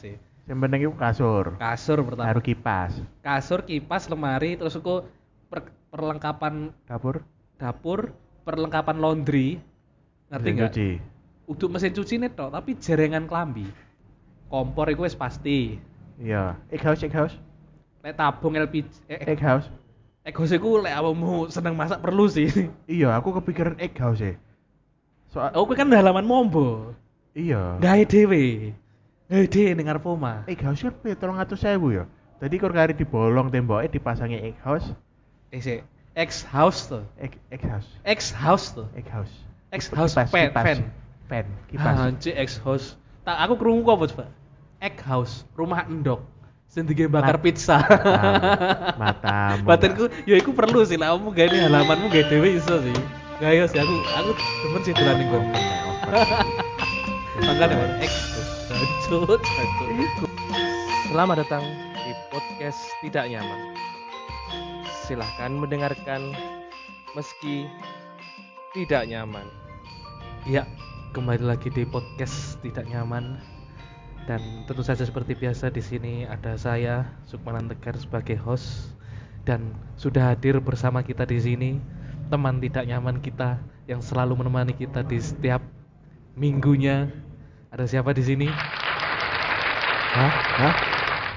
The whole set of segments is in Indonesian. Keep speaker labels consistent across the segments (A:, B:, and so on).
A: sih.
B: Yang penting itu kasur,
A: Kasur pertama.
B: taruh kipas,
A: Kasur, kipas, lemari, terus aku per- perlengkapan
B: dapur,
A: dapur, perlengkapan laundry. Ngerti
B: mesin
A: nggak?
B: cuci.
A: Untuk mesin cuci nih toh, tapi jerengan kelambi. Kompor itu wis pasti.
B: Iya, egg house, egg house,
A: Lek tabung LPG, eh, eh,
B: egg house.
A: egos iku lek awakmu seneng masak perlu sih.
B: Iya, aku kepikiran egg house ya. Soal
A: Aku kan halaman mombo.
B: iya.
A: Gawe dhewe. Gawe dhewe ning ngarep omah.
B: Egg house kan piro? 300.000 ya. Tadi kur kari dibolong temboknya dipasangi egg house,
A: Eh sik, X house to.
B: egg, egg house,
A: X house to.
B: egg house.
A: X house
B: kipas,
A: pen, Ah,
B: kipas,
A: fan.
B: pen, kipas.
A: Anjir X house. Tak aku krungu kok, Bos, Pak. X house, rumah endok. Sing dige
C: Nah.
A: bakar
B: Mat-
A: pizza.
B: matamu.
A: Batinku ya iku perlu sih lah kamu gawe ning halamanmu gawe dhewe iso sih. Gawe yo sih aku aku demen sih dolan ning kono. Makane Bos, X Hancur, hancur.
C: Selamat datang di podcast Tidak Nyaman. Silahkan mendengarkan meski tidak nyaman.
A: Ya, kembali lagi di podcast tidak nyaman dan tentu saja seperti biasa di sini ada saya Sukmanan Tegar sebagai host dan sudah hadir bersama kita di sini teman tidak nyaman kita yang selalu menemani kita di setiap minggunya. Ada siapa di sini?
B: Hah? Hah?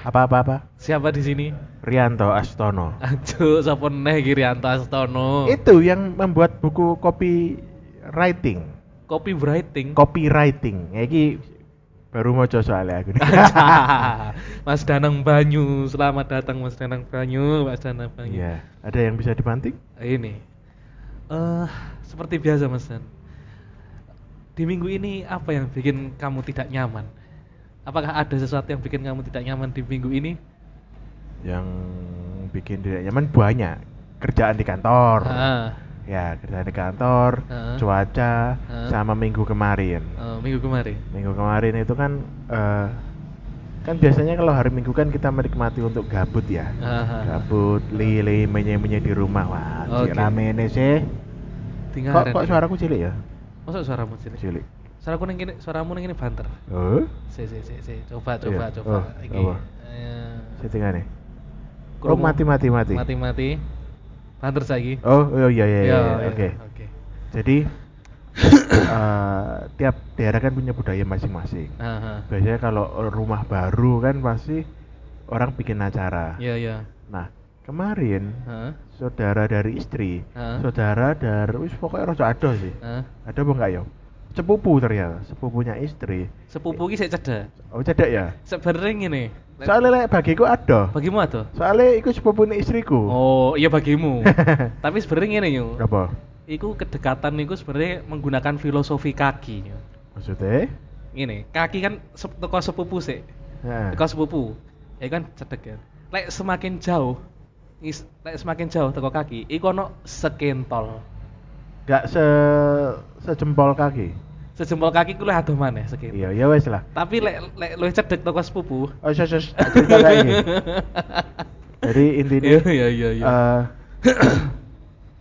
B: Apa-apa-apa?
A: Siapa di sini?
B: Rianto Astono.
A: Aduh, sapa neh Girianto Astono.
B: Itu yang membuat buku copy writing,
A: Copywriting.
B: copywriting. Iki baru mau soalnya aku. Iya.
A: Mas Danang Banyu, selamat datang Mas Danang Banyu, Mas Danang Banyu.
B: Iya. Ada yang bisa dibanting?
A: ini eh seperti biasa mas Dan di minggu ini apa yang bikin kamu tidak nyaman apakah ada sesuatu yang bikin kamu tidak nyaman di minggu ini
B: Yang bikin tidak nyaman banyak. Kerjaan di kantor.
A: Ah,
B: Ya, kerjaan di kantor,
A: Ah.
B: cuaca,
A: Ah.
B: sama minggu kemarin.
A: eh, minggu kemarin
B: Minggu kemarin itu kan eh, kan biasanya kalau hari Minggu kan kita menikmati untuk gabut ya.
A: Ah,
B: Gabut, lili, menye-menye di rumah. Wah,
A: Oke.
B: okay. rame ini sih.
A: tinggal
B: Kok, kok suaraku cilik ya?
A: masuk suaramu sini
B: Cilik.
A: suaraku ning kene suaramu ning kene banter
B: Oh,
A: si si si si coba
B: Iya.
A: coba coba
B: Oh,
A: Iki.
B: apa?
A: Eh,
B: settingan nih. Oh,
A: kromo-
B: mati mati mati.
A: mati mati banter saiki
B: Oh, oh iya iya iya.
A: Iya,
B: iya,
A: iya,
B: Oke. Jadi eh, tiap daerah kan punya budaya masing-masing.
A: Ah, ah.
B: Biasanya kalau rumah baru kan pasti orang bikin acara.
A: iya iya
B: Nah, kemarin
A: Heeh.
B: saudara dari istri,
A: Heeh.
B: saudara dari wis pokoknya rada ada sih.
A: Heeh.
B: Ada apa enggak ya? Sepupu ternyata, sepupunya istri.
A: sepupu iki sik cedek
B: Oh, cedek ya?
A: sebenarnya ngene
B: Soalnya lek bagiku ada.
A: bagimu atau
B: Soalnya iku sepupunya istriku.
A: oh iya bagimu tapi sebenarnya ngene yo
B: Apa?
A: iku kedekatan iku sebenarnya menggunakan filosofi kaki yo
B: Maksudnya?
A: ngene kaki kan sep- teko sepupu sih
B: Heeh.
A: teko sepupu ya kan cedek ya lek semakin jauh ngis- lek semakin jauh teko kaki iku ono sekentol
B: Enggak se sejempol kaki.
A: sejempol kaki ku luwih adoh maneh sekentol
B: Iya, ya wes lah.
A: tapi lek lek luwih cedek teko sepupu
B: Oh, sos, sos, cerita kayak gini. Jadi intinya
A: iya iya iya
B: eh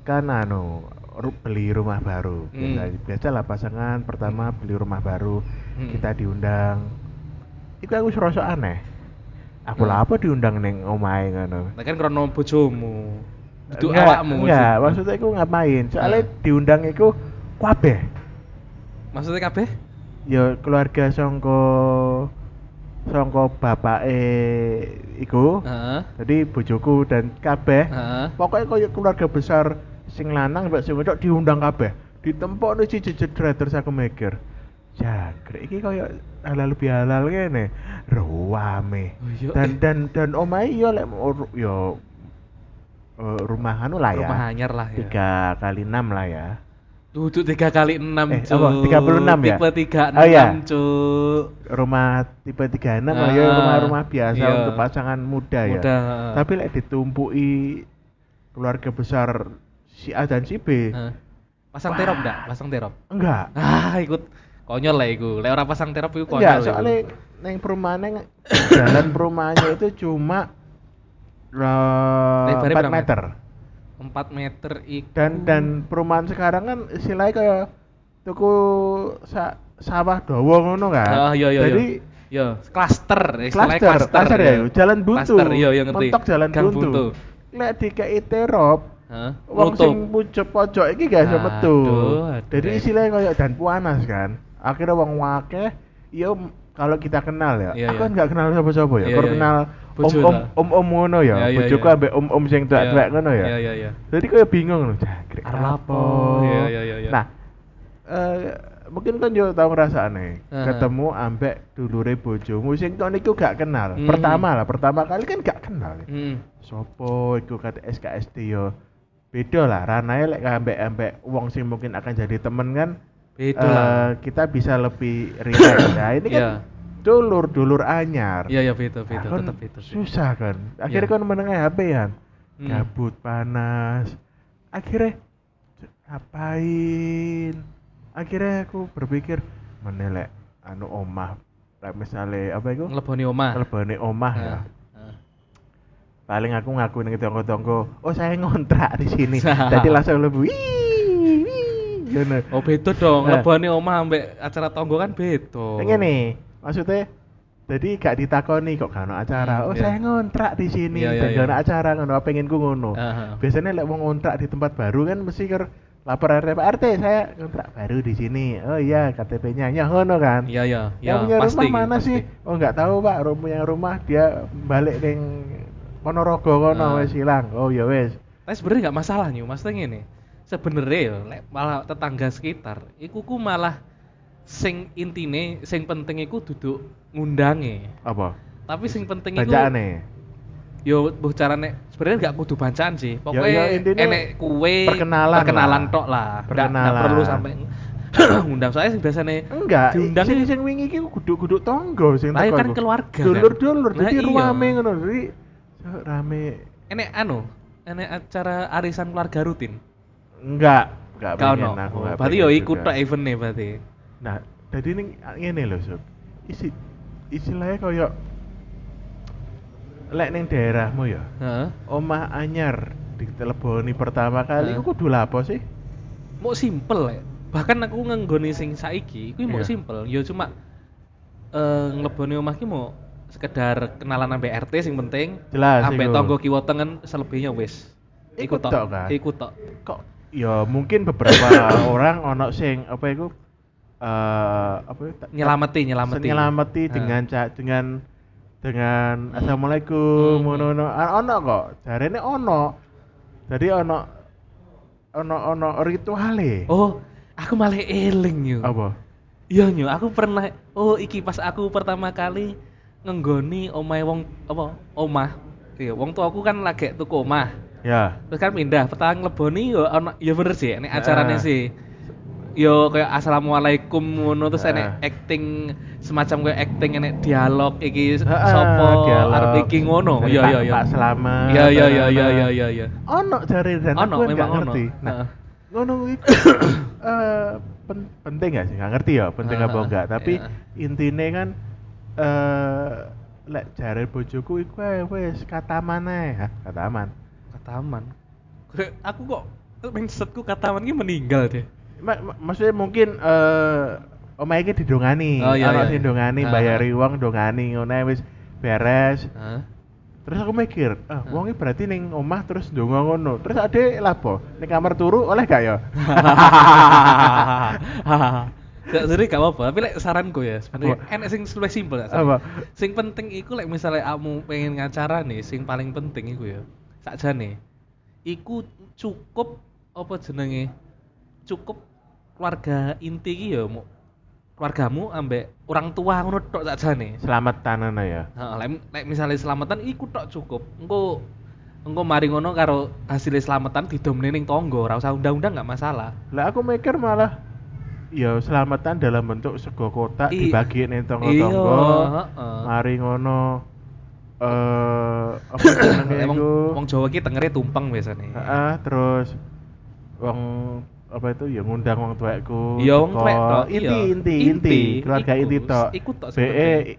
B: kan anu ru- beli rumah baru
A: Hmm.
B: biasa biasalah pasangan pertama beli rumah baru
A: Hmm.
B: kita diundang itu aku serasa aneh aku
A: Hmm.
B: lah apa diundang neng omae ngono
A: Nah, kan krono bojomu itu
B: Enggak,
A: awakmu
B: enggak
A: bojomu.
B: maksudnya aku ngapain soalnya
A: Hmm.
B: diundang iku kabeh
A: maksudnya kabeh
B: ya keluarga songko songko bapak iku
A: heeh
B: jadi bojoku dan kabeh
A: heeh
B: pokoknya kaya keluarga besar sing lanang mbak sing wedok diundang kabeh ditempok nih si jejedra terus aku mikir jangkrik iki kaya halal bihalal ngene ruame
A: Oh, iya,
B: dan
A: eh.
B: dan dan omai yo lek ur- yo eh, rumah anu lah ya
A: rumah anyar lah ya
B: tiga kali enam lah ya
A: duduk tiga kali enam
B: Eh,
A: cuk.
B: apa? 36 ya?
A: tipe tiga
B: Oh, iya.
A: enam cuk
B: rumah tipe tiga enam lah ya
A: Ah,
B: rumah-rumah biasa
A: iya.
B: untuk pasangan muda, ya
A: Muda. ah.
B: tapi lek ditumpuki keluarga besar si A dan si B
A: Heeh. pasang
B: Wah.
A: terop enggak pasang terop
B: enggak
A: ah ikut konyol lah iku lek ora pasang terop iku konyol
B: Enggak,
A: iku.
B: Iya, soalnya neng perumahannya nge- jalan perumahannya itu cuma eh,
A: Lebarnya
B: 4
A: berapa Hmm.
B: meter.
A: empat meter iku
B: Dan dan perumahan sekarang kan istilahnya kayak tuku sa- sawah dawa ngono kan.
A: Ah, iya, iya,
B: Jadi
A: Yo, klaster, istilahnya gitu.
B: Klaster, klaster ya,
A: yo.
B: yo. jalan buntu.
A: Klaster, yo, yo iya, ngerti.
B: Mentok jalan
A: Gang
B: buntu.
A: buntu.
B: Lek dikei terop,
A: Hah?
B: wong
A: Nutup.
B: sing pucuk pojok iki gak iso
A: Aduh,
B: metu.
A: aduh.
B: Jadi istilahnya kayak dan puanas kan. Akhirnya wong akeh ya m- kalau kita kenal ya.
A: Iya, iya.
B: aku kan gak kenal sapa-sapa
A: Iya,
B: ya. Kur
A: iya,
B: kenal
A: iya. Bojo
B: om-om
A: lah.
B: om-om ngono ya.
A: Iya, iya,
B: Bojoku
A: iya.
B: ambek om-om sing tuwek-tuwek ngono ya.
A: Iya, iya, iya.
B: Jadi kayak bingung loh, jangkrik
A: Arep
B: apa?
A: apa? Iya, iya, iya, iya.
B: Nah, eh, mungkin kan yo tau ngrasakne
A: Heeh.
B: ketemu ambek dulure bojomu sing kon iku gak kenal.
A: Hmm.
B: Pertama lah, pertama kali kan gak kenal.
A: Hmm.
B: Sopo iku kate SKSD yo. Beda lah ranae lek ambek ambek wong sing mungkin akan jadi temen kan
A: Beda
B: eh,
A: lah.
B: kita bisa lebih relax. Nah, ini kan
A: Iya.
B: dulur-dulur anyar.
A: Iya, iya, beda, beda,
B: Nah, kan
A: tetep beda.
B: Susah kan. Akhirnya
A: Iya.
B: kan menengah HP ya.
A: Hmm.
B: Gabut panas. Akhirnya j- ngapain? Akhirnya aku berpikir menelek anu omah. Lek misale apa itu?
A: Ngeleboni omah.
B: Lebone omah ya.
A: Hah, hah.
B: Paling aku ngaku ning tonggo-tonggo, "Oh, saya ngontrak di sini." Jadi langsung lebu. "Wih, wih," Ngono.
A: Oh, beda dong.
B: Nah.
A: Ngeleboni omah ambek acara tonggo kan beda.
B: Pengen nih, maksudnya jadi gak ditakoni kok gak ono acara.
A: Hmm,
B: oh
A: iya.
B: saya ngontrak di sini
A: Iya, iya,
B: dan gak
A: iya.
B: ono acara ngono pengen ku ngono.
A: Aha.
B: Biasanya lek mau ngontrak di tempat baru kan mesti ker lapor RT Pak RT saya ngontrak baru di sini. Oh iya KTP-nya ya ngono kan.
A: Iya, iya, iya.
B: yang punya
A: pasti,
B: rumah mana
A: pasti.
B: sih? Oh nggak tahu Pak, Rum- punya rumah dia balik ning Ponorogo kono
A: Ah.
B: wis hilang. Oh ya wis.
A: Tapi sebenarnya nggak masalah nih, maksudnya gini. Sebenarnya ya, lek malah tetangga sekitar, iku ku malah sing intine, sing penting iku duduk ngundange.
B: Apa?
A: Tapi sing penting iku
B: Bacaane.
A: yo mbuh carane sebenarnya nggak kudu bancaan sih. Pokoknya
B: ya, intinya
A: enek kue
B: perkenalan
A: perkenalan
B: lah.
A: tok lah. Nggak-
B: Perkenalan.
A: nggak perlu sampai ngundang saya sih biasanya
B: Enggak,
A: diundang
B: sing
A: itu-
B: sing wingi iki guduk-guduk tonggo sing
A: Lah, ya
B: teko
A: kan
B: iku.
A: keluarga, kan?
B: Dulur-dulur
A: Lah,
B: jadi
A: iya.
B: ruame ngono. Jadi eh, rame
A: enek anu, enek acara arisan keluarga rutin.
B: enggak, enggak
A: Kau
B: pengen
A: no.
B: aku.
A: Oh,
B: enggak
A: Berarti
B: pengen
A: yo ikut
B: juga.
A: tok event nih berarti.
B: Nah, jadi ini ngene lho, Sob. Isi istilahnya koyo lek ning daerahmu ya.
A: Heeh.
B: Omah anyar diteleboni pertama kali
A: Hah?
B: iku kudu lapo sih?
A: mau simple ya bahkan aku ngenggoni sing saiki iku mau
B: Iya.
A: simple ya cuma eh ngleboni omah ki mau sekedar kenalan ambek RT sing penting
B: Jelas,
A: ambek
B: iku.
A: tonggo kiwa tengen selebihnya wis
B: Iku tok, kan?
A: iku tok
B: Kok ya mungkin beberapa orang ono sing apa iku eh apa ya, ta-
A: nyelameti nyelameti
B: Senyelameti
A: Ha.
B: dengan ca- dengan dengan assalamualaikum
A: Hmm.
B: ngono ono ono kok jarene ono jadi ono ono ono rituale
A: oh aku malah eling yo
B: apa
A: iya yo aku pernah oh iki pas aku pertama kali ngenggoni omahe wong apa omah iya wong tuaku kan lagi tuku omah
B: ya
A: terus kan pindah petang leboni yo ana yo bener sih nek acarane
B: Ah.
A: sih yo kayak assalamualaikum ngono terus
B: Ah.
A: enek acting semacam kayak acting enek dialog iki
B: Ah,
A: sopo
B: dialog.
A: arep iki ngono Iya,
B: Dari
A: yo
B: Pak-
A: yo yo
B: Pak Slamet,
A: yo yo yo yo
B: anak-anak.
A: yo yo yo
B: ono jare dan
A: iya, Ono,
B: aku
A: memang
B: nggak
A: ono. Ah.
B: ngerti nah
A: Heeh.
B: ngono iku eh, pen- penting gak sih nggak ngerti ya penting apa
A: Heeh,
B: enggak tapi
A: iya.
B: intine kan eh lek jare bojoku iku ae wis kataman ae Hah, kataman
A: kataman Kayak aku kok mindsetku kataman ki meninggal deh
B: Ma- ma- maksudnya mungkin eh omah iki didongani,
A: Oh, iya,
B: ana
A: iya,
B: sing
A: iya.
B: dongani
A: Ah.
B: bayari uang dongani ngono ae wis beres.
A: Hah?
B: Terus aku mikir, ah wong iki berarti ning omah terus ndonga ngono. Terus ade lapo? Ning kamar turu oleh gak ya?
A: Gak jadi gak apa-apa, tapi like saranku ya sebenarnya
B: Apa?
A: enak sing luwih simpel gak
B: Apa?
A: Sing penting iku like misalnya kamu pengen ngacara nih, sing paling penting iku ya. Sakjane. Iku cukup apa jenenge? Cukup keluarga inti iki ya mu keluargamu ambek orang tua ngono tok sakjane.
B: Selamat tanana ya.
A: Heeh, lek lek misale selamatan iku tok cukup. Engko engko mari ngono karo hasil selamatan didomne ning tangga, ora usah undang-undang gak masalah.
B: Lah aku mikir malah ya selamatan dalam bentuk sego kotak
A: I-
B: dibagi ning
A: Iya,
B: tonggo-tonggo.
A: heeh.
B: Mari ngono eh apa jenenge
A: Emang
B: iku?
A: wong Jawa ki tengere tumpeng biasanya.
B: Heeh, terus wong apa itu ya ngundang wong tuaku.
A: Iya wong
B: teko.
A: tuwek tok, iya.
B: Inti, inti, inti,
A: Inti,
B: keluarga
A: iku,
B: inti tok.
A: iku tok
B: Be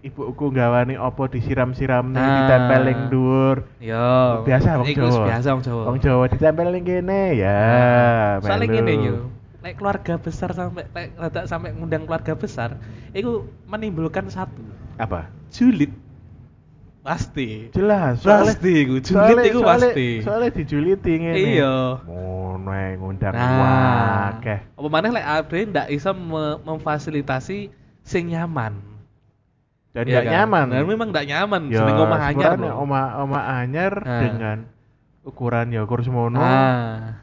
B: ibuku gawani opo disiram-siram nih,
A: Ah.
B: ditempel ning dhuwur.
A: Yo.
B: Biasa wong
A: Iya. Iku
B: Jawa.
A: biasa wong Jawa. Ah.
B: Wong Jawa ditempel ning kene ya.
A: Soalnya
B: melu.
A: ngene yo. Lek keluarga besar sampai lek rada sampai ngundang keluarga besar, iku menimbulkan satu
B: Apa?
A: julid pasti
B: Jelas.
A: pasti gue julid itu pasti
B: Soalnya dijuliti ngene.
A: Iya.
B: Ngono ae ngundang
A: nah
B: akeh.
A: apa maneh lek Abre ndak iso me- memfasilitasi sing nyaman Iya
B: Dan nggak
A: kan?
B: nyaman.
A: Nah, memang ndak nyaman
B: Ya,
A: jeneng omah anyar
B: sebenarnya
A: loh.
B: Oma oma anyar
A: Nah.
B: dengan ukuran ya kursi mono.
A: Ah.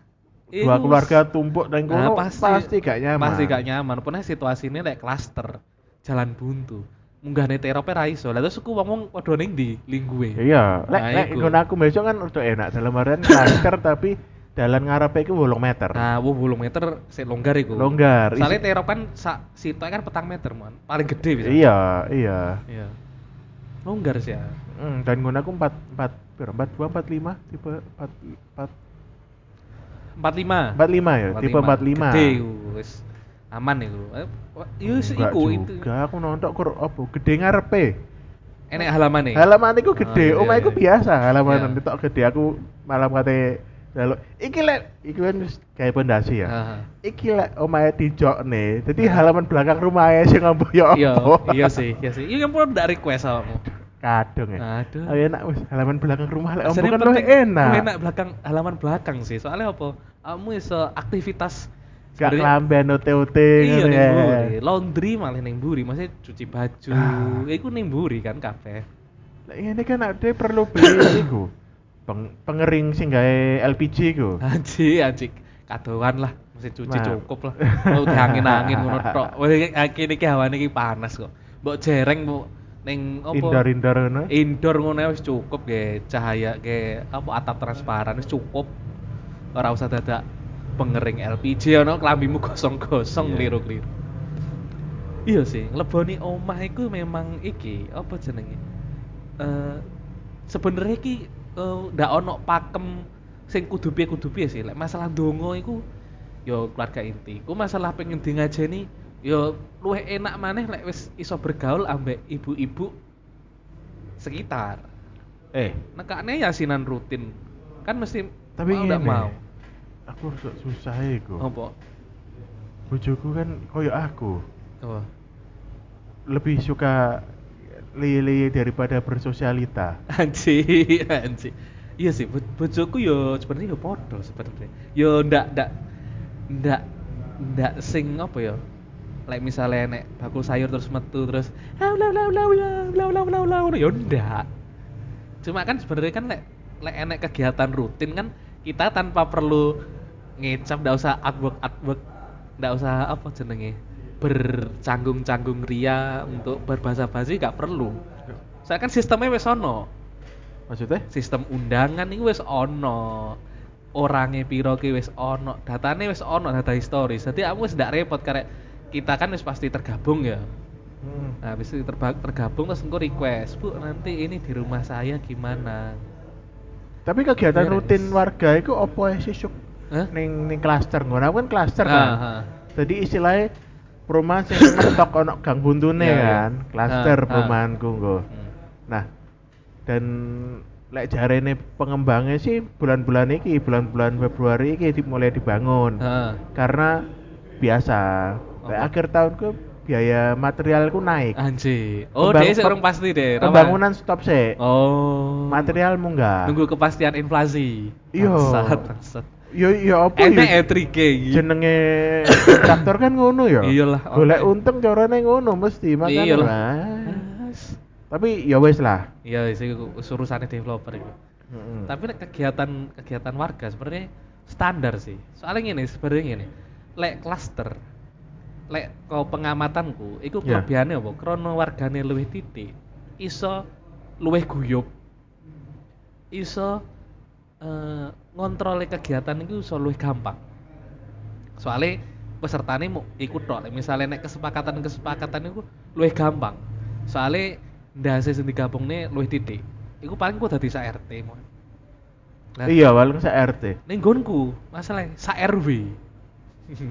B: Dua
A: Iku
B: keluarga tumpuk dan
A: Nah,
B: kono pasti, gak nyaman.
A: Pasti gak nyaman. Pernah situasinya lek klaster jalan buntu. Munggahne terope ra iso. Lah terus aku wong-wong padha ning ndi lingguhe.
B: Iya, lek
A: Nah,
B: lek
A: iku.
B: nggon aku besok kan udah enak dalam artian klaster tapi dalan ngarepe iku 8 meter.
A: Nah, wuh 8 meter sik longgar iku.
B: Longgar.
A: Soale
B: Isi-
A: terop kan sak sitok kan petang meter, Mon. Paling gede bisa.
B: Iya, iya.
A: Iya. Longgar sih ya.
B: Hmm, dan nggon aku 4 4 piro? 42 45 tipe 4
A: 45.
B: 45 ya, tipe 45.
A: Gede iku wis aman iku. Eh, wa- Yo wis
B: Enggak
A: iku itu.
B: juga, aku nonton kur opo gede ngarepe.
A: Enek halamane.
B: Halaman iku
A: Ah,
B: gede,
A: iya,
B: omah iku
A: iya.
B: biasa halaman
A: Iya.
B: yeah. gede aku malam kate lalu iki lek iki kan wis kayak pondasi ya.
A: Ah.
B: Iki lek omahe dijokne,
A: Ah.
B: dadi halaman belakang rumahnya sing ngombo ya
A: Iya,
B: apa.
A: iya sih, iya sih. Iya kan perlu ndak request awakmu.
B: Kadung ya.
A: Aduh.
B: Oh, enak wis halaman belakang rumah lek ombo
A: Rasanya
B: kan luwih
A: penting,
B: enak.
A: luwih enak belakang halaman belakang sih. Soalnya apa? Kamu iso aktivitas
B: Gak
A: sebenarnya-
B: kelamben OT-OT
A: Iya
B: ngono
A: ning
B: ya.
A: buri. Laundry malah ning buri, maksudnya cuci baju.
B: Ah.
A: Ya, Iku ning buri kan kabeh.
B: Lek ngene kan ade perlu beli iku. Peng- pengering sing gawe LPG iku.
A: Anji, anji. Kadoan lah, mesti cuci
B: Nah.
A: cukup lah. Mau diangin-angin ngono tok. Wah, iki- iki iki hawane iki panas kok. Mbok jereng mbok ning apa?
B: Indar-indar ngono.
A: Indoor ngono ae wis cukup ge cahaya ge apa atap transparan wis cukup. Ora usah dadak pengering LPG ono kelambimu gosong-gosong
B: Iya.
A: keliru-keliru. Iya sih, ngleboni omah iku memang iki apa jenenge? Eh sebenarnya iki eh, ndak ono pakem sing kudu piye kudu piye sih. Lek masalah donga iku ya keluarga inti. Ku masalah pengen di ngajeni ya luwih enak maneh lek wis iso bergaul ambek ibu-ibu sekitar.
B: Eh,
A: Nekakne yasinan rutin. Kan mesti
B: tapi
A: mau ndak
B: ngene.
A: mau.
B: Aku rasa susah iku.
A: Apa?
B: Bojoku kan koyo aku.
A: Apa?
B: Lebih suka lele daripada bersosialita.
A: Anji, anji. Iya sih, bo- bojoku yo sebenarnya yo podo sebenarnya. Yo ndak ndak ndak ndak sing apa yo. Like misalnya nek bakul sayur terus metu terus lau lau lau lau lau lau lau lau lau yo ndak. Cuma kan sebenarnya kan lek lek enek kegiatan rutin kan kita tanpa perlu ngecap ndak usah artwork artwork ndak usah apa jenenge bercanggung-canggung ria untuk berbahasa basi gak perlu. Saya kan sistemnya wis ono.
B: Maksudnya?
A: Sistem undangan itu wis ono. Orangnya piro ki wis ono, datane wis ono, data historis. Jadi aku wis ndak repot karek kita kan wis pasti tergabung ya.
B: Hmm.
A: Nah, habis itu terba- tergabung terus engko request, "Bu, nanti ini di rumah saya gimana?"
B: Tapi kegiatan
A: Beres.
B: rutin warga itu opo ae sih Suk?
A: Iya, Hah?
B: ning ning klaster ngono aku kan klaster
A: Ah,
B: kan.
A: ah.
B: Jadi istilahnya perumahan sing mentok ono gang buntune
A: Iya, iya.
B: kan, klaster
A: Ah, ah.
B: perumahanku nggo.
A: Hmm.
B: Nah, dan lek jarene pengembangnya sih bulan-bulan iki, bulan-bulan Februari iki di- mulai dibangun.
A: Ah.
B: Karena biasa, lek
A: Apa?
B: akhir tahun ku biaya materialku naik.
A: Anji. Oh,
B: Pembang-
A: deh sik
B: pem-
A: urung pasti deh. Rama.
B: Pembangunan stop sih.
A: Oh.
B: Material munggah.
A: nunggu kepastian inflasi.
B: Iya.
A: Bangsat, bangsat.
B: Yo yo apa
A: Enek
B: yo?
A: ya 3G iki.
B: jenenge kontraktor kan ngono ya.
A: Iyalah,
B: Golek
A: oke.
B: untung carane ngono mesti makan.
A: Iya lah.
B: Tapi ya wis lah.
A: Iya, sih urusannya developer itu.
B: Hmm.
A: Tapi nek kegiatan kegiatan warga sebenarnya standar sih. Soalnya gini, sebenarnya gini. Lek klaster, lek kau pengamatanku, itu
B: Ya.
A: kelebihannya apa? Krono wargane luwih titik, iso luwih guyup, iso eh, ngontrole kegiatan itu iso luwih gampang. Soalnya pesertane mau ikut tok. Lek Misalnya nek kesepakatan-kesepakatan itu luwih gampang. Soalnya ndase sing digabungne luwih titik. Iku paling ku dadi sak RT mon. Nah,
B: iya, paling sak RT.
A: Ning nggonku masalah sak RW.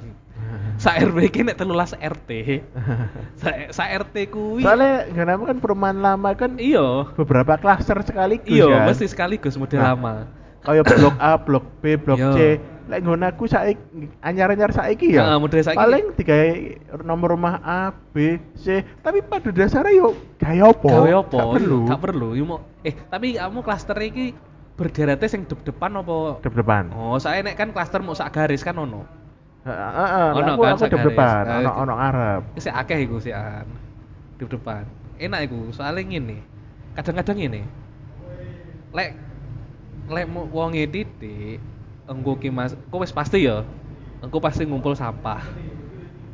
A: sak RW iki nek 13 RT. Sak sak RT kuwi.
B: Soalnya kenapa kan perumahan lama kan
A: iya.
B: beberapa klaster sekaligus
A: Iya,
B: kan.
A: mesti sekaligus model
B: Nah,
A: lama.
B: Kayak blok A, blok B, blok
A: Iya.
B: C. lek nggon aku saiki anyar-anyar saiki ya.
A: Heeh, model saiki.
B: Paling tiga nomor rumah A, B, C, tapi pada dasarnya yo gaya apa?
A: Gawe apa? Iya,
B: Gak perlu.
A: Gak perlu. Yo mau eh tapi kamu klaster iki berderatnya sing dep-depan apa?
B: Dep-depan.
A: Oh, saya nek kan klaster mau sak garis kan ono.
B: Heeh, heeh.
A: Ono
B: Aku
A: kan
B: aku
A: sakaris.
B: dep-depan,
A: Ah,
B: ono
A: itu.
B: ono Arab.
A: Iki sik akeh iku sik an. Dep-depan. Enak iku, soalnya ngene. Kadang-kadang ngene. Lek lek mau wonge titik, engko ki Mas, kowe wis pasti ya. Engko pasti ngumpul sampah.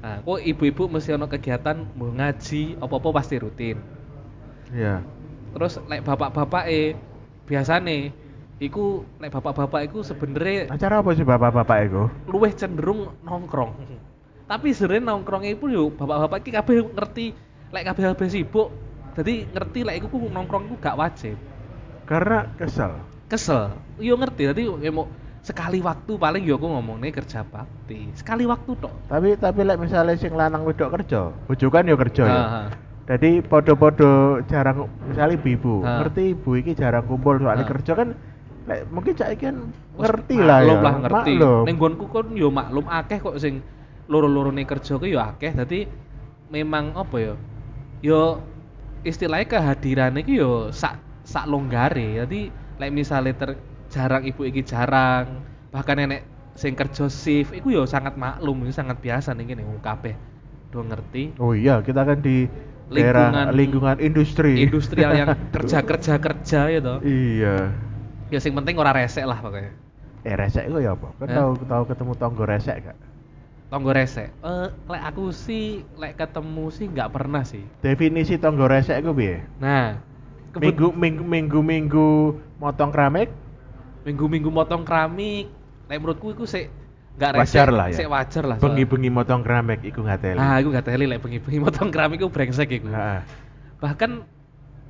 A: Nah, kok ibu-ibu mesti ono kegiatan mau ngaji, apa-apa pasti rutin.
B: Iya.
A: terus lek bapak-bapak e biasane iku lek bapak-bapak iku sebenarnya
B: Acara apa sih bapak-bapak itu?
A: luwih cenderung nongkrong tapi sebenarnya nongkrongnya pun yo bapak-bapak iki kabeh ngerti lek kabeh kabeh sibuk jadi ngerti lek iku ku nongkrong iku gak wajib
B: Karena kesel.
A: kesel yo ngerti jadi yo mau sekali waktu paling yo aku ngomongnya kerja bakti sekali waktu tok
B: Tapi tapi lek misalnya sing lanang wedok kerja, bujukan yo kerja ya.
A: Ah, ah.
B: Jadi podo-podo jarang misalnya ibu,
A: Ha.
B: ngerti ibu iki jarang kumpul soalnya
A: Ha.
B: kerja kan lek mungkin cak iki kan
A: Wes
B: ngerti lah ya.
A: maklum lah ngerti
B: Maklum.
A: ning nggonku kon yo maklum akeh kok sing loro-lorone kerja ku yo akeh dadi memang apa ya yo istilahnya kehadiran iki yo sak sak longgare dadi lek misale ter jarang ibu iki jarang bahkan nenek sing kerja shift iku yo sangat maklum ini sangat biasa ning kene wong kabeh do ngerti
B: Oh iya, kita kan di daerah
A: Lingkungan-
B: lingkungan industri.
A: industrial yang kerja-kerja kerja ya toh
B: iya.
A: ya sing penting ora resek lah pokoknya
B: Eh resek itu ya apa? Kan
A: Eh.
B: tahu tahu ketemu tonggo resek gak?
A: Tonggo resek. Eh, lek aku sih lek ketemu sih nggak pernah sih.
B: Definisi tonggo resek itu piye?
A: Nah,
B: Minggu minggu minggu minggu motong keramik
A: minggu-minggu motong keramik, lek menurutku itu sih nggak resek.
B: wajar lah ya.
A: Sik wajar lah. soalnya.
B: Bengi-bengi motong keramik iku ngateli.
A: Nah, aku nggak teli lek bengi-bengi motong keramik itu brengsek iku.
B: Heeh.
A: Bahkan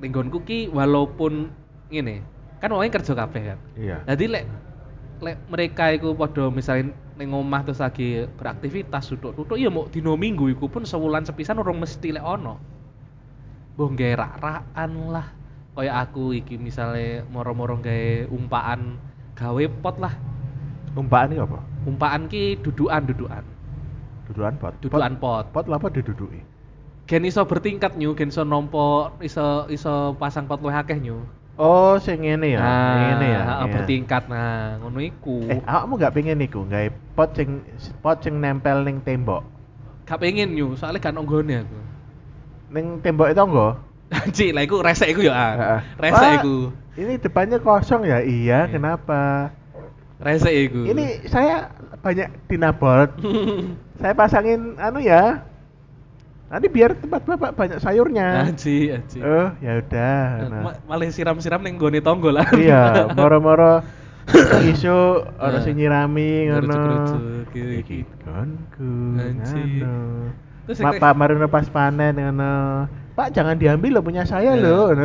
A: linggonku ki walaupun ngene, kan wong kerja kabeh kan.
B: Iya.
A: Jadi lek lek mereka iku padha misalnya ning omah terus lagi beraktivitas duduk-duduk ya mau dino minggu iku pun sewulan sepisan orang mesti lek ono. Mbah gawe rak-rakan lah. Kayak aku iki misalnya moro-moro gawe umpaan gawe pot lah.
B: Umpaan iki apa?
A: Umpaan ki dudukan-dudukan.
B: Dudukan pot.
A: Dudukan pot.
B: pot, pot lah apa diduduki?
A: Gen iso bertingkat nyu, gen iso nompo, iso iso pasang pot luwih akeh nyu.
B: Oh, sing ngene ya. ngene ya.
A: Nah, heeh,
B: iya.
A: bertingkat nah, ngono iku.
B: Eh, awakmu gak pengen iku gawe pot sing pot sing nempel ning tembok.
A: Gak pengen nyu, soalnya gak nonggone aku.
B: Ning tembok itu enggak?
A: Cik, lah iku resek iku ya. An.
B: Heeh.
A: Resek
B: Pak,
A: iku.
B: Ini depannya kosong ya? Iya,
A: Iya.
B: kenapa?
A: Resek iku.
B: Ini saya banyak dinabot. saya pasangin anu ya. Nanti biar tempat Bapak banyak sayurnya.
A: aji aji.
B: Oh, ya udah. eh, Nah.
A: ah, Ma- malah siram-siram ning gone tonggo lah.
B: iya, moro-moro isu
A: Nah.
B: orang sing nyirami ngono.
A: Ngerucuk-ngerucuk, gitu.
B: Iki konku.
A: Anjing.
B: ngono.
A: Terus
B: Ma-
A: kayak-
B: Pak Marino pas panen ngono. Pak jangan diambil lo punya saya
A: Nah.
B: lo.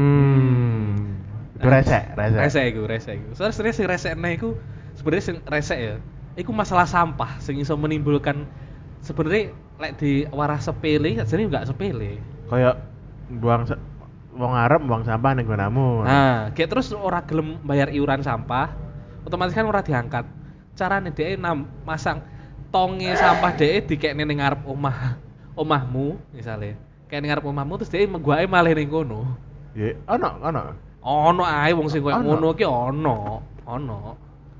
B: hmm. Itu resek, resek.
A: Resek iku, resek iku. Soalnya sebenarnya sing resek nah iku sebenarnya sing resek ya. Iku masalah sampah sing iso menimbulkan sebenarnya lek di warah sepele, jadi enggak sepele.
B: Kayak buang sa- wong Arab buang sampah ning gonamu.
A: Nah, kayak terus orang gelem bayar iuran sampah, otomatis kan orang diangkat. Carane dhek nam masang tonge sampah dhek dikekne ning ngarep omah omahmu misalnya. Kayak ning ngarep omahmu terus dhek mengguake malah ning kono.
B: Ya, ono, ono.
A: Ono ae wong sing koyo
B: Ono.
A: ngono ki ono, ono.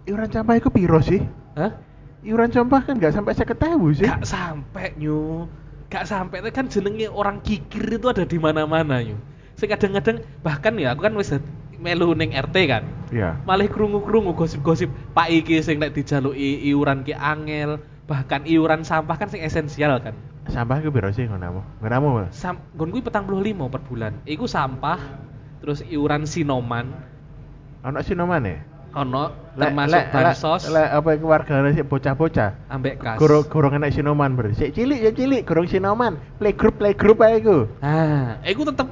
B: Iuran sampah iku piro sih?
A: Hah?
B: Iuran sampah kan gak sampai 50.000 sih.
A: Gak sampe nyu. Gak sampe kan jenenge orang kikir itu ada di mana-mana nyu. Sing kadang-kadang bahkan ya aku kan wis melu ning RT kan.
B: Iya.
A: malah krungu-krungu gosip-gosip Pak iki sing nek dijaluki iuran ki angel, bahkan iuran sampah kan sing esensial kan.
B: Sampah iku piro sih gonamu? Gonamu.
A: Sam nggon kuwi 45 per bulan. Iku sampah, terus iuran sinoman,
B: Ono sinoman ya?
A: ono
B: Lek-
A: termasuk
B: lek-
A: bansos,
B: lek- lek apa iku wargane sik bocah-bocah.
A: ambek kas.
B: Gorong gorong enak sinoman berarti. Sik cilik ya cilik, gorong sinoman. Playgroup playgroup ae iku.
A: Nah, iku tetep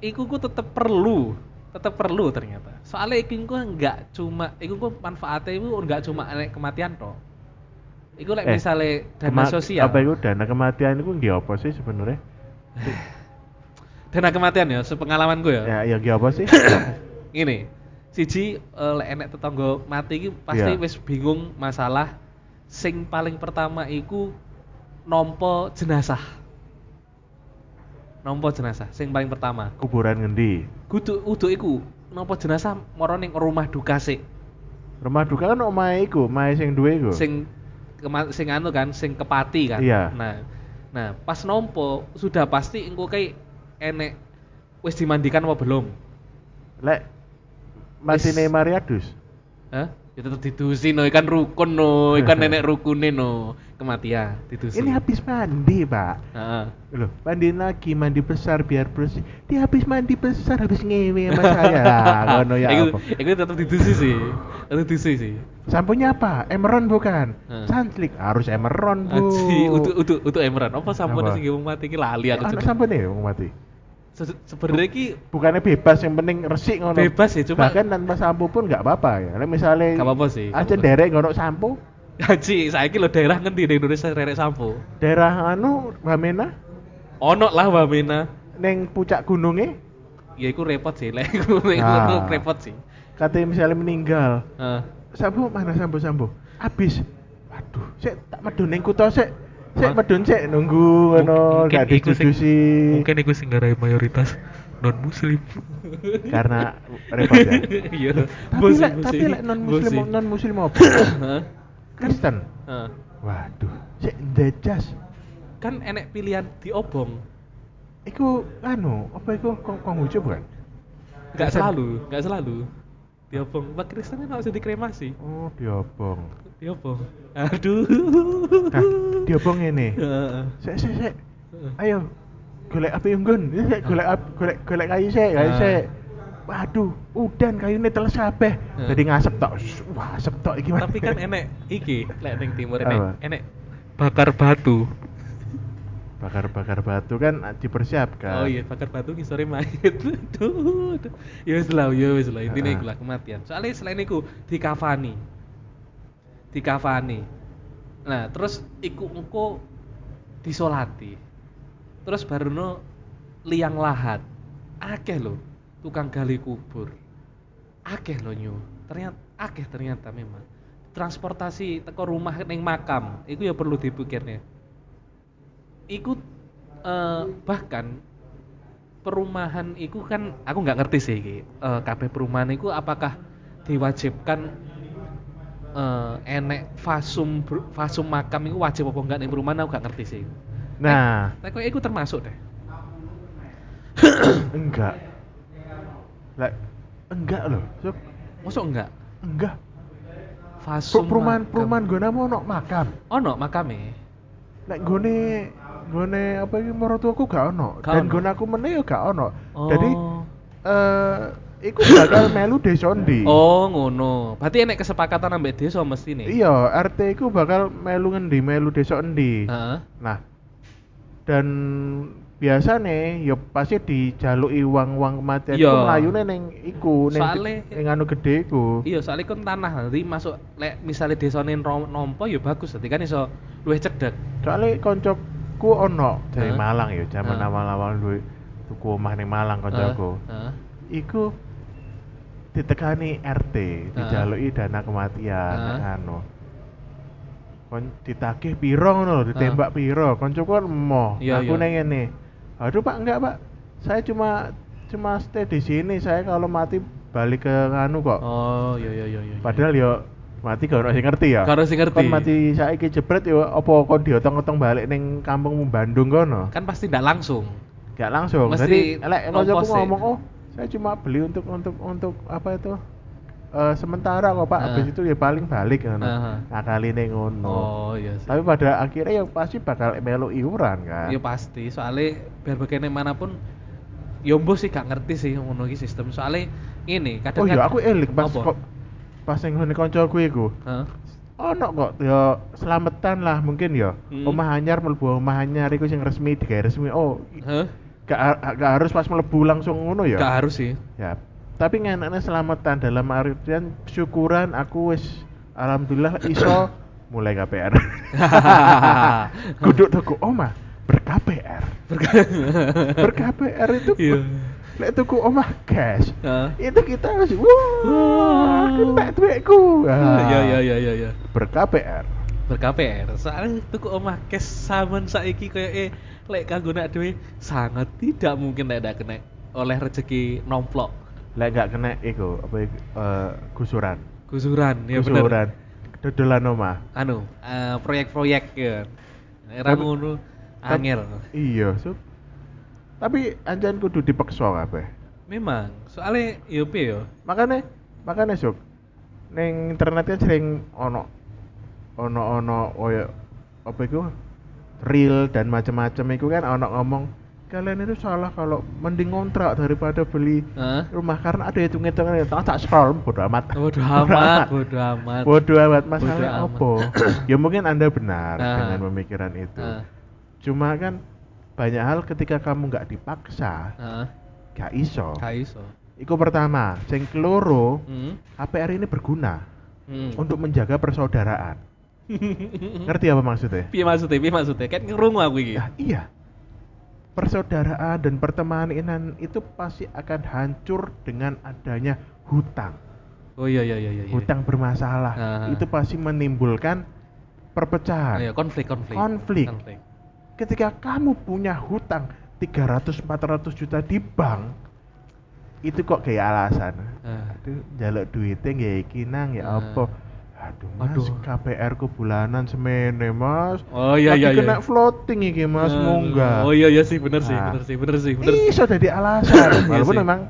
A: iku ku tetep perlu, tetep perlu ternyata. Soalnya iku ku enggak cuma iku ku manfaatnya iku enggak cuma nek kematian tok. Iku lek
B: Eh,
A: misale dana
B: Kema-
A: sosial.
B: Apa iku dana kematian iku nggih apa sih sebenarnya?
A: Dana kematian ya, sepengalaman gue ya.
B: Ya ya nggih apa sih?
A: Ini siji eh, lek enek tetangga mati iki pasti
B: Iya.
A: wis bingung masalah sing paling pertama iku nompo jenazah. Nompo jenazah sing paling pertama.
B: kuburan ngendi
A: Kudu kudu iku nompo jenazah moro ning rumah duka sik.
B: rumah duka kan omahe iku omahe sing duwe iku
A: sing kema- sing anu kan sing kepati kan
B: Iya.
A: nah nah pas nompo sudah pasti engko kayak enek wis dimandikan apa belum
B: lek
A: Wis.
B: matine Mariadus
A: Hah? ya tetep didusi no ikan rukun no ikan nenek rukune no kematian didusi
B: ini habis mandi pak
A: Heeh.
B: Loh, mandi lagi, mandi besar biar bersih. Dia habis mandi besar habis ngewe sama saya. Lah, ngono ya
A: Iku-
B: apa?
A: iku tetep didusi sih tetep didusi sih
B: Sampunya apa? Emeron bukan?
A: Heeh.
B: Sanslik harus Emeron, Bu.
A: Aji, untuk untuk untuk Emran, apa sampun
B: Apa?
A: sing wong mati iki lali
B: Ya,
A: aku. juga.
B: anak sampun ya wong mati.
A: Se- Sebenarnya iki
B: Bukannya bebas yang penting resik ngono.
A: Bebas ya, cuma-
B: bahkan tanpa sampo pun nggak apa-apa ya. Lah misale
A: Nggak apa-apa sih, nggak
B: Aja
A: apa-apa.
B: derek ngono sampo,
A: Haji, saiki lho daerah ngendi di Indonesia rerek sampo.
B: daerah anu Wamena
A: Ono lah Wamena.
B: ning puncak gunungnya
A: ya itu repot sih lah itu itu
B: Nah.
A: repot sih
B: katanya misalnya meninggal.
A: Heeh.
B: Sampo mana sampo sampo? Abis. Waduh, sik tak medun ning kutho sik. Sik
A: Mas-
B: medun sik nunggu ngono gak didudusi.
A: mungkin iku sing ngarai mayoritas non muslim
B: Karena repot ya.
A: iya
B: tapi
A: Bosi,
B: lek
A: bosi.
B: tapi lek non muslim
A: Bosi.
B: non muslim apa?
A: Heeh.
B: Kristen.
A: Heeh.
B: Waduh, sik ndejas.
A: kan enek pilihan diobong
B: Iku anu, apa iku kong Konghucu bukan?
A: nggak
B: Kristen.
A: selalu nggak selalu diobong pak Kristen kan harus dikremasi
B: Oh, diobong.
A: diobong aduh
B: Nah, diobong ini.
A: Heeh.
B: Sik sik sik.
A: Heeh.
B: Ayo. Golek api unggun. Sik golek api, golek golek kayu sik, kayu
A: Ah.
B: sik. Waduh, udan kayune teles kabeh.
A: Ah.
B: Jadi ngasep tok. Wah, asep tok iki.
A: tapi kan enek iki lek ning timur
B: Apa?
A: enek enek bakar batu
B: bakar-bakar batu kan ah, dipersiapkan.
A: Oh iya, bakar batu ki sore mayit. Duh. duh. Ya wis lah, ya wis lah. Intine iku lah kematian. Soalnya selain iku dikafani. Dikafani. Nah, terus iku engko disolati. Terus baruno liang lahat. Akeh lho tukang gali kubur. Akeh lho nyu. Ternyata akeh ternyata memang. Transportasi teko rumah ning makam, iku ya perlu dipikirnya ikut eh, bahkan perumahan itu kan aku nggak ngerti sih iki. Eh, kabeh perumahan itu apakah diwajibkan eh, enek fasum br- fasum makam itu wajib apa enggak ning perumahan aku nggak ngerti sih
B: Nah,
A: tapi kok itu termasuk deh
B: enggak. Lah, enggak loh. Sob.
A: masuk enggak
B: Enggak.
A: fasum
B: Per- perumahan
A: makam.
B: perumahan gue mau nok makam.
A: ono makame
B: Lek gue gue apa ini mertuaku gak ono.
A: Gak
B: Dan
A: ono.
B: gue aku meneh yo gak ono.
A: oh.
B: Jadi eh iku bakal melu desondi.
A: oh ngono berarti enek kesepakatan ambek desa mesti nih
B: Iya, RT iku bakal melu ngendi, melu desa endi.
A: Heeh.
B: Nah, dan biasane ya pasti dijaluki uang-uang
A: Iya.
B: kematian iku mlayune ning iku ning
A: Soale-
B: ning anu gede iku.
A: Iya, soalnya kan tanah nanti masuk lek misalnya desane ro- nompo ya bagus nanti kan iso luwih cedek.
B: Soale koncoku ono dari
A: Heeh.
B: Malang ya, zaman
A: Heeh.
B: awal-awal duwe tuku omah ning Malang koncoku.
A: Heeh.
B: Iku ditekani RT, dijaluki dana kematian
A: Heeh.
B: nek anu. Kon ditagih piro ngono lho, ditembak piro. Koncoku kan emoh.
A: Iya, iya.
B: Aku neng ngene. Aduh Pak, enggak Pak. Saya cuma cuma stay di sini. Saya kalau mati balik ke anu kok.
A: Oh, iya iya iya iya.
B: Padahal yo mati gak ono sing ngerti ya.
A: Gak ono sing ngerti.
B: Kon mati saiki jebret yo apa kon diotong-otong balik ning kampungmu Bandung kono.
A: kan pasti ndak langsung.
B: Gak langsung.
A: Mesti
B: Jadi, elek
A: ongkos
B: koncoku
A: sih.
B: ngomong, "Oh, saya cuma beli untuk untuk untuk apa itu? Eh sementara kok Pak,
A: Ah.
B: habis itu ya paling balik ngono.
A: Aha.
B: Akaline ngono.
A: Oh, iya sih.
B: Tapi pada akhirnya ya pasti bakal melu iuran kan.
A: Ya pasti, soalnya biar bagaimanapun ya mbok sih gak ngerti sih ngono iki sistem. Soalnya ini kadang
B: oh iya, aku eling pas
A: Apa?
B: kok pas yang ngene koncoku iku.
A: Heeh.
B: ono kok ya selametan lah mungkin ya
A: Hmm.
B: omah anyar mlebu omah anyar iku sing resmi digawe resmi oh i-
A: Hah?
B: gak, har- gak harus pas mlebu langsung ngono ya
A: Gak harus sih.
B: ya tapi ngenaknya selamatan dalam artian syukuran aku wis alhamdulillah iso mulai KPR kuduk toko omah ber KPR ber KPR itu
A: Iya.
B: lek tuku omah gas
A: Heeh.
B: itu kita harus wah
A: Wow.
B: kena duitku Ah,
A: Ya ya ya ya ya.
B: berKPR
A: BerKPR. Soalnya tuku omah cash saman saiki kayak eh lek kanggo nak dhewe sangat tidak mungkin lek ndak kena oleh rezeki nomplok
B: lek gak kena iku apa iku, eh, gusuran
A: gusuran ya bener.
B: gusuran dodolan omah
A: Anu, eh, proyek-proyek ya. Era
B: Tapi-
A: ngono
B: Tap-
A: angel.
B: Kan iya sup tapi anjan kudu dipaksa kabeh
A: Memang, soalnya yo piye yo.
B: makanya makanya sob neng internetnya kan sering ono ono ono oyo apa itu real dan macam-macam itu kan ono ngomong kalian itu salah kalau mending ngontrak daripada beli
A: Heeh.
B: rumah karena ada hitung hitungan tak tak scroll bodo amat
A: Bodoh amat, bodoh amat.
B: bodo amat masalah
A: Bodo amat.
B: apa ya mungkin anda benar
A: Ah.
B: dengan pemikiran itu
A: Heeh.
B: cuma kan banyak hal ketika kamu nggak dipaksa
A: Heeh.
B: gak iso
A: Gak iso.
B: Iku pertama, sing keloro,
A: Hmm.
B: APR ini berguna
A: Hmm.
B: untuk menjaga persaudaraan. Ngerti apa maksudnya?
A: Piye maksudnya? Piye maksudnya? Kan ngerungu aku iki.
B: Ya, iya. Persaudaraan dan pertemanan itu pasti akan hancur dengan adanya hutang.
A: Oh iya iya iya iya. iya.
B: Hutang bermasalah.
A: Ah.
B: Itu pasti menimbulkan
A: Ah, iya,
B: perpecahan.
A: konflik konflik.
B: Konflik. Ketika kamu punya hutang 300-400 juta di bank, itu kok kayak alasan.
A: Ah.
B: Aduh, jaluk duitnya nggak iki nang ya
A: Ah.
B: apa? Aduh, mas,
A: Aduh.
B: KPR ku bulanan semene mas.
A: Oh iya iya iya.
B: Lagi kena floating iki mas,
A: Ah,
B: munggah.
A: Oh iya iya sih, bener sih,
B: Ah.
A: bener sih, bener sih, bener. sih.
B: Iso jadi alasan,
A: Iya
B: walaupun
A: sih.
B: memang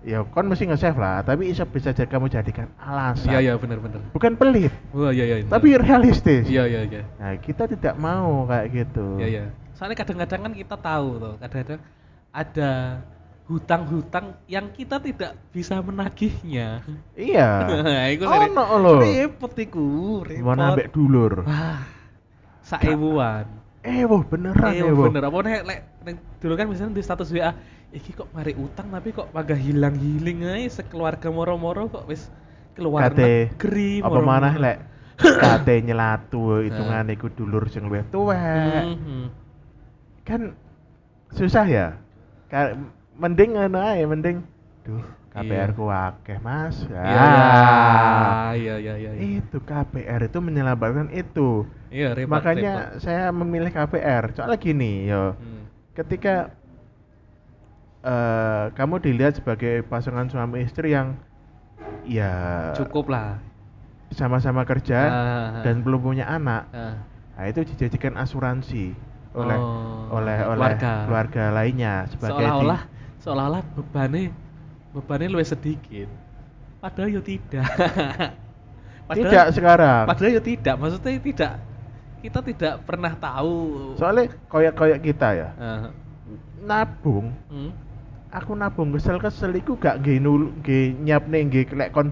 B: ya kon mesti nge-save lah, tapi iso bisa jadi kamu jadikan alasan.
A: Iya iya bener bener.
B: Bukan pelit,
A: Wah iya iya. bener.
B: tapi realistis.
A: Iya iya iya.
B: Nah, kita tidak mau kayak gitu.
A: Iya iya. Soalnya kadang-kadang kan kita tahu tuh, kadang-kadang ada hutang-hutang yang kita tidak bisa menagihnya.
B: Iya.
A: iku seri-
B: Ono lho.
A: Repot iku, repot.
B: Mau nambek dulur.
A: Wah. Saewuan.
B: Eh, wah beneran
A: Eh
B: eh, wah.
A: bener apa nek lek nek dulu kan misalnya di status WA, iki kok mari utang tapi kok maga hilang-hiling ae sekeluarga moro-moro kok wis keluar
B: kate
A: negeri
B: apa manah lek kate nyelatu hitungan
A: Nah.
B: iku dulur sing luwih tuwek
A: Mhm.
B: kan susah ya Ka- mending ngono ae mending duh KPR
A: Iya.
B: ku akeh Mas ya
A: Iya iya iya iya iya.
B: itu KPR itu menyelamatkan itu
A: Iya repot.
B: makanya saya memilih KPR soalnya gini yo
A: repot. Hmm.
B: ketika eh kamu dilihat sebagai pasangan suami istri yang ya
A: cukup lah.
B: sama-sama kerja
A: Ah.
B: dan belum punya anak,
A: Ah.
B: nah itu dijadikan asuransi oleh
A: Oh,
B: oleh oleh
A: keluarga.
B: keluarga lainnya sebagai di-
A: seolah-olah seolah-olah bebannya bebannya lebih sedikit. Padahal yo tidak.
B: tidak sekarang.
A: Padahal ya tidak, maksudnya tidak kita tidak pernah tahu.
B: Soalnya koyak-koyak kita ya.
A: Eh,
B: Nabung,
A: hmm.
B: aku nabung kesel-kesel iku gak nggih nul nggih nyiapne nggih lek kon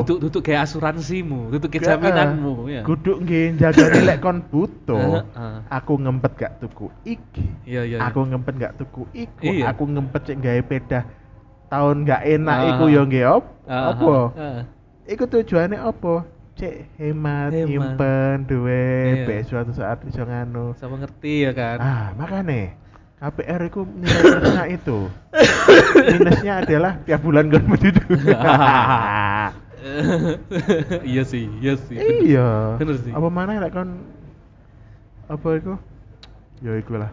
A: Oh, Duduk duduk kayak asuransimu, duduk
B: Gak,
A: kayak jaminanmu ya.
B: Kudu nggih jagane lek kon butuh.
A: Eh, eh.
B: Aku ngempet gak tuku iki.
A: Iya iya.
B: Aku ngempet gak tuku iku,
A: Iya.
B: aku ngempet cek gawe pedah tahun gak enak
A: Ah.
B: iku yo nggih op.
A: Ah,
B: Apa?
A: ah, ah.
B: Iku tujuannya apa? Cek hemat,
A: Hemat.
B: nyimpen
A: Iya.
B: duit, ben suatu saat bisa nganu.
A: Sama ngerti ya kan.
B: Ah, makane KPR iku nilai plusnya itu. Minusnya adalah tiap bulan kan begitu.
A: iya sih, iya sih. bener.
B: iya.
A: Bener sih.
B: Apa mana lek kon apa iku? Ya iku lah.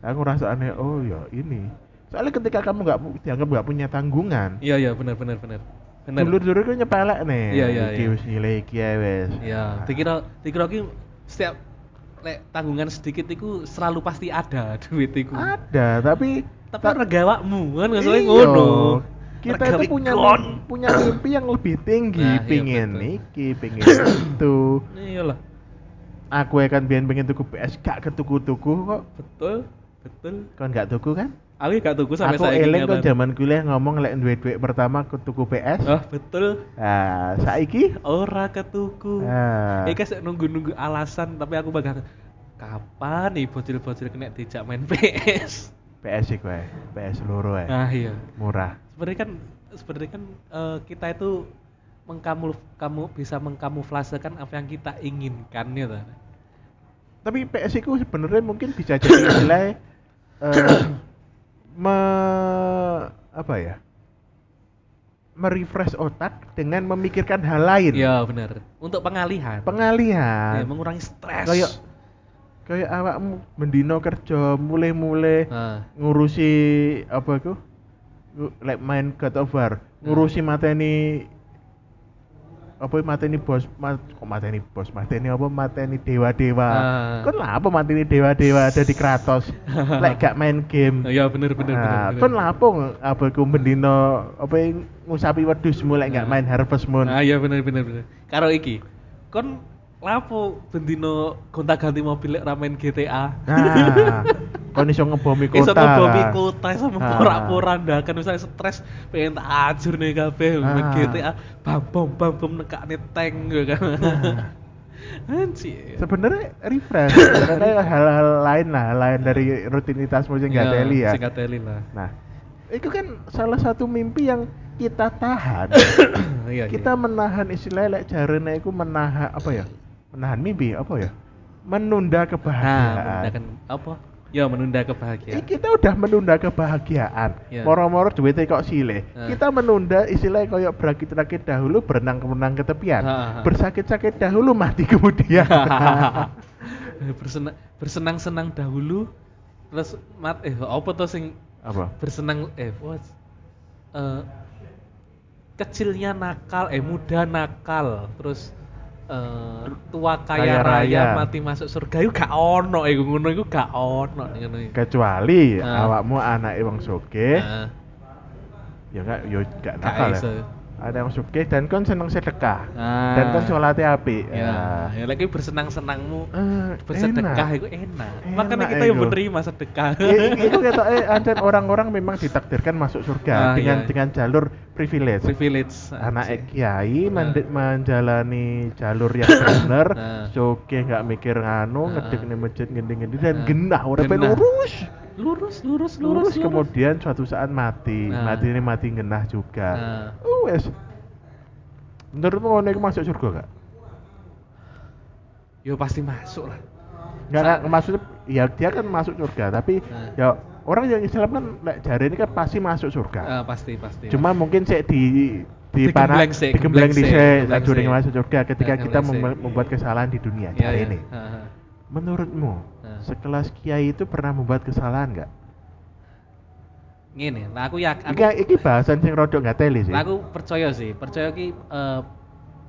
B: Aku ngerasa aneh, oh ya ini. Soalnya ketika kamu nggak pu- dianggap nggak punya tanggungan,
A: Iya iya benar benar benar. Benar.
B: dulur-dulur kan nyepelek nih.
A: Iya, iya,
B: Iki
A: iya.
B: wis nyilai iki ae wis.
A: Iya, dikira dikira ki setiap lek tanggungan sedikit iku selalu pasti ada duit iku.
B: Ada, tapi
A: Tapi
B: ta-
A: orang gawakmu kan maksudnya
B: Iya.
A: ngono.
B: Kita
A: Regawe
B: itu punya
A: gon.
B: mim- punya mimpi yang lebih tinggi,
A: Nah, iya,
B: pingin
A: betul.
B: iki, pingin itu.
A: Iya lah.
B: Aku kan biyen pengen tuku PS gak ketuku-tuku kok.
A: Betul, betul.
B: Kon gak tuku kan?
A: Aku gak tunggu sampai
B: Aku
A: saiki
B: eling kon
A: nyatane.
B: zaman kuliah ngomong lek duwe-duwe pertama ketuku PS.
A: Ah, betul.
B: Ah, saiki
A: Ora ketuku.
B: Ah.
A: Iki sik nunggu-nunggu alasan tapi aku bakal kapan nih bocil-bocil kena dijak main PS.
B: PS iku ae, PS loro ae.
A: Nah, iya.
B: Murah.
A: Sebenarnya kan sebenarnya kan eh, kita itu mengkamul kamu bisa mengkamuflasekan apa yang kita inginkan ya toh.
B: Tapi PS iku sebenarnya mungkin bisa jadi nilai eh me apa ya merefresh otak dengan memikirkan hal lain
A: Iya benar. Untuk pengalihan. Ya,
B: pengalihan
A: mengurangi stres.
B: kayak kayak awakmu mendino kerja mulai-mulai
A: Nah,
B: ngurusi apa itu Ngu- like main God of War ngurusi
A: Hmm.
B: mateni apa mateni bos mat, kok mateni bos mateni apa mateni dewa-dewa
A: Ah.
B: kan lah apa mateni dewa-dewa ada di Kratos lek gak main game
A: iya benar benar benar.
B: Nah,
A: benar.
B: kan lapung apa iku mendino apa yang ngusapi wedhus mulai nggak
A: Ah.
B: main Harvest Moon.
A: Ah iya bener bener bener. Karo iki, kon lapo bendino gonta-ganti mobil lek ramen GTA.
B: Nah, kon iso ngebomi kota.
A: Iso ngebomi
B: lah.
A: kota iso
B: kan? Ah.
A: porak-porak ndakan misalnya stres pengen tak ajur nih kabeh main
B: Ah.
A: GTA bam bom bam bom nekakne tank gitu kan.
B: Nah.
A: Anjir.
B: Sebenarnya refresh, sebenarnya hal-hal lain lah, hal lain dari rutinitasmu sing
A: Iya,
B: gak teli ya.
A: Sing gak teli lah.
B: Nah, itu kan salah satu mimpi yang kita tahan.
A: Iya. iya.
B: kita menahan istilahnya lek jarene iku menahan apa ya? Menahan mimpi apa ya?
A: nah,
B: Menunda kebahagiaan.
A: menundakan apa? Ya menunda
B: Eh,
A: kebahagiaan.
B: kita udah menunda kebahagiaan.
A: Ya.
B: Moro-moro duitnya kok sile.
A: Ah.
B: Kita menunda istilah koyok berakit-rakit dahulu berenang-renang ke
A: Ah,
B: tepian.
A: ah, ah.
B: Bersakit-sakit dahulu mati kemudian.
A: Bersenang bersenang-senang dahulu terus mat eh apa to sing
B: Apa?
A: bersenang eh what? Eh, kecilnya nakal eh muda nakal terus eh, tua kaya,
B: Kaya
A: raya,
B: raya.
A: mati masuk surga iku gak ono iku ngono iku gak ono ngono iku.
B: Kecuali
A: Ah.
B: awakmu anak wong sugih,
A: Nah,
B: ya gak yo
A: Gak
B: gak nakal
A: iso.
B: ya. Ada yang sugih dan kon seneng sedekah.
A: Ah.
B: Dan kon sholatnya apik.
A: ya,
B: Ah.
A: ya lagi bersenang-senangmu
B: Eh,
A: bersedekah
B: enak.
A: itu enak.
B: Enak
A: Makanya kita yang
B: iku.
A: menerima sedekah.
B: Ya, itu kata eh ancan orang-orang memang ditakdirkan masuk surga
A: Ah,
B: dengan
A: iya.
B: dengan jalur privilege.
A: Privilege. Ah, iya.
B: anak
A: anjir.
B: kiai mende- menjalani jalur yang bener
A: Nah.
B: soke nggak mikir nganu
A: Nah.
B: ngedek nih masjid ngendi-ngendi
A: Nah.
B: dan genah udah
A: Genah.
B: lurus
A: lurus lurus
B: lurus kemudian suatu saat mati
A: Nah.
B: mati ini mati genah juga
A: Nah.
B: uh wes menurutmu ngono iku masuk surga gak?
A: Yo pasti masuk lah.
B: Nggak, nggak, maksudnya ya dia kan masuk surga tapi
A: Nah.
B: ya orang yang Islam kan lek jare ini kan pasti masuk surga
A: Ah, pasti pasti.
B: cuma mungkin sih di di panah
A: Digembleng sih,
B: digembleng
A: digembleng
B: di sini
A: sih, digembleng
B: durung
A: sih.
B: masuk surga ketika
A: Ya,
B: kita
A: digembleng
B: mem-
A: sih.
B: membuat kesalahan di dunia
A: Ya,
B: hari
A: ya.
B: ini
A: Ha, ha.
B: menurutmu
A: Nah.
B: sekelas kiai itu pernah membuat kesalahan nggak?
A: Ngene, lah aku ya aku,
B: Iki iki bahasan sing rodok nggak teli sih.
A: lah aku percaya sih, percaya ki eh,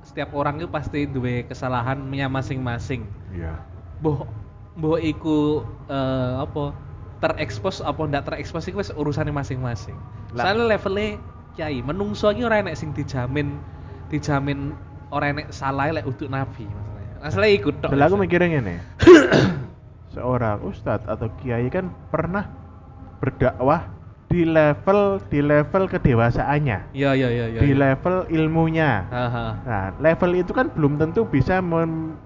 A: setiap orang itu pasti duwe kesalahannya masing-masing.
B: Iya.
A: Boh boh iku eh, apa terekspos apa ndak terekspos iku wis urusane masing-masing.
B: Lah.
A: Soalnya levelnya kiai menungso iki ora enek sing dijamin dijamin ora enek salah lek untuk nabi masalahnya. Masalah iku tok.
B: Lah aku mikirnya ngene. seorang ustadz atau kiai kan pernah berdakwah di level di level kedewasaannya,
A: Iya iya iya iya. iya.
B: di level ilmunya.
A: Ha, ha.
B: Nah, level itu kan belum tentu bisa men-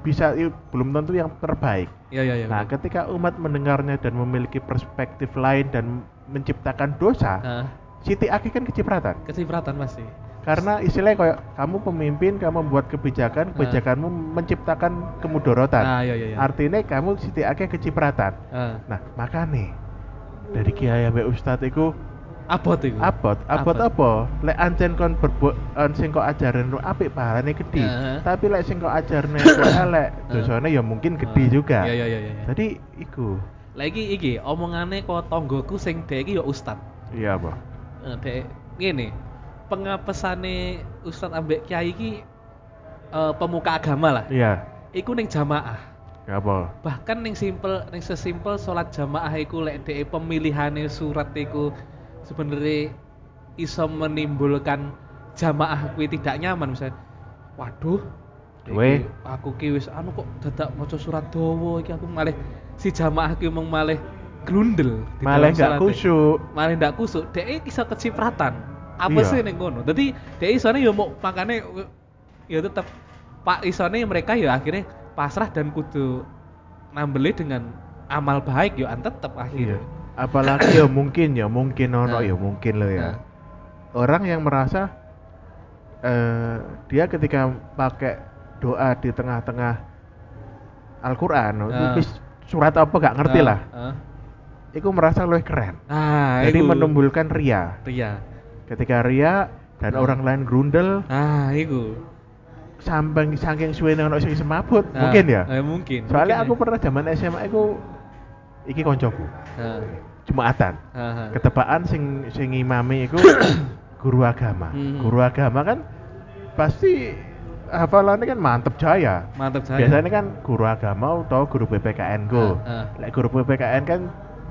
B: bisa i- belum tentu yang terbaik.
A: Iya iya iya.
B: Nah,
A: betul.
B: ketika umat mendengarnya dan memiliki perspektif lain dan menciptakan dosa,
A: Nah,
B: Siti Aki kan kecipratan.
A: kecipratan pasti.
B: Karena istilahnya kayak kamu pemimpin, kamu membuat kebijakan, kebijakanmu menciptakan kemudorotan.
A: Nah, iya iya iya.
B: Artinya kamu Siti Aki kecipratan.
A: Ah.
B: Nah, maka nih dari Kiai sampai Ustadz itu
A: Abot iku.
B: abot abot apa lek ancen kon berbuat eh, sing kok ajaran lu apik pahalane gede
A: Heeh.
B: tapi lek sing kok ajarane kok elek
A: Heeh.
B: dosane ya mungkin gede
A: Ah,
B: juga
A: Iya iya iya iya.
B: jadi iku
A: Lagi iki omongane kok tonggoku sing dhek iki ya ustad.
B: iya apa
A: Eh, Dhek ngene. Pengapesane ustad ambek kiai iki eh, pemuka agama lah.
B: iya
A: Iku ning jamaah.
B: gak apa
A: Bahkan ning simpel ning sesimpel salat jamaah iku lek dhek pemilihane surat iku sebenarnya iso menimbulkan jamaah kuwi tidak nyaman misalnya. Waduh,
B: Duwe.
A: Iki, aku ki wis anu kok dadak maca surat dawa iki aku malih si jamaah ki mung malih glundel di
B: malah
A: dalam
B: gak
A: salate.
B: kusuk
A: Malih ndak kusuk. Dhek iso kecipratan. Apa
B: Iya.
A: sih ning ngono? Dadi dhek isone ya mau makane ya tetep Pak isone mereka ya akhirnya pasrah dan kudu nambeli dengan amal baik ya an tetep
B: iya
A: akhirnya.
B: apalagi ya mungkin ya mungkin ono
A: Nah.
B: ya mungkin lo
A: Nah.
B: ya orang yang merasa eh dia ketika pakai doa di tengah-tengah Al-Qur'an
A: Nah.
B: wis surat apa gak ngerti
A: Ah,
B: lah
A: ah.
B: iku merasa lebih keren.
A: Nah,
B: Jadi
A: iku. Iya.
B: menimbulkan ria.
A: Ria.
B: Ketika ria dan
A: Nah.
B: orang lain grundel,
A: Ah, iku.
B: sambang saking suwene ono sing semaput,
A: Ah,
B: mungkin ya.
A: eh, mungkin.
B: Soalnya aku
A: mungkin
B: pernah zaman SMA aku iki koncoku,
A: ya.
B: Jumatan.
A: Ah, ah, ah.
B: Ketepaan sing sing ngimami iku guru agama.
A: Hmm.
B: Guru agama kan pasti hafalannya kan mantep jaya.
A: Mantap saya.
B: Biasanya kan guru agama atau guru PPKN go.
A: iya. Ah, ah.
B: Lek guru PPKN kan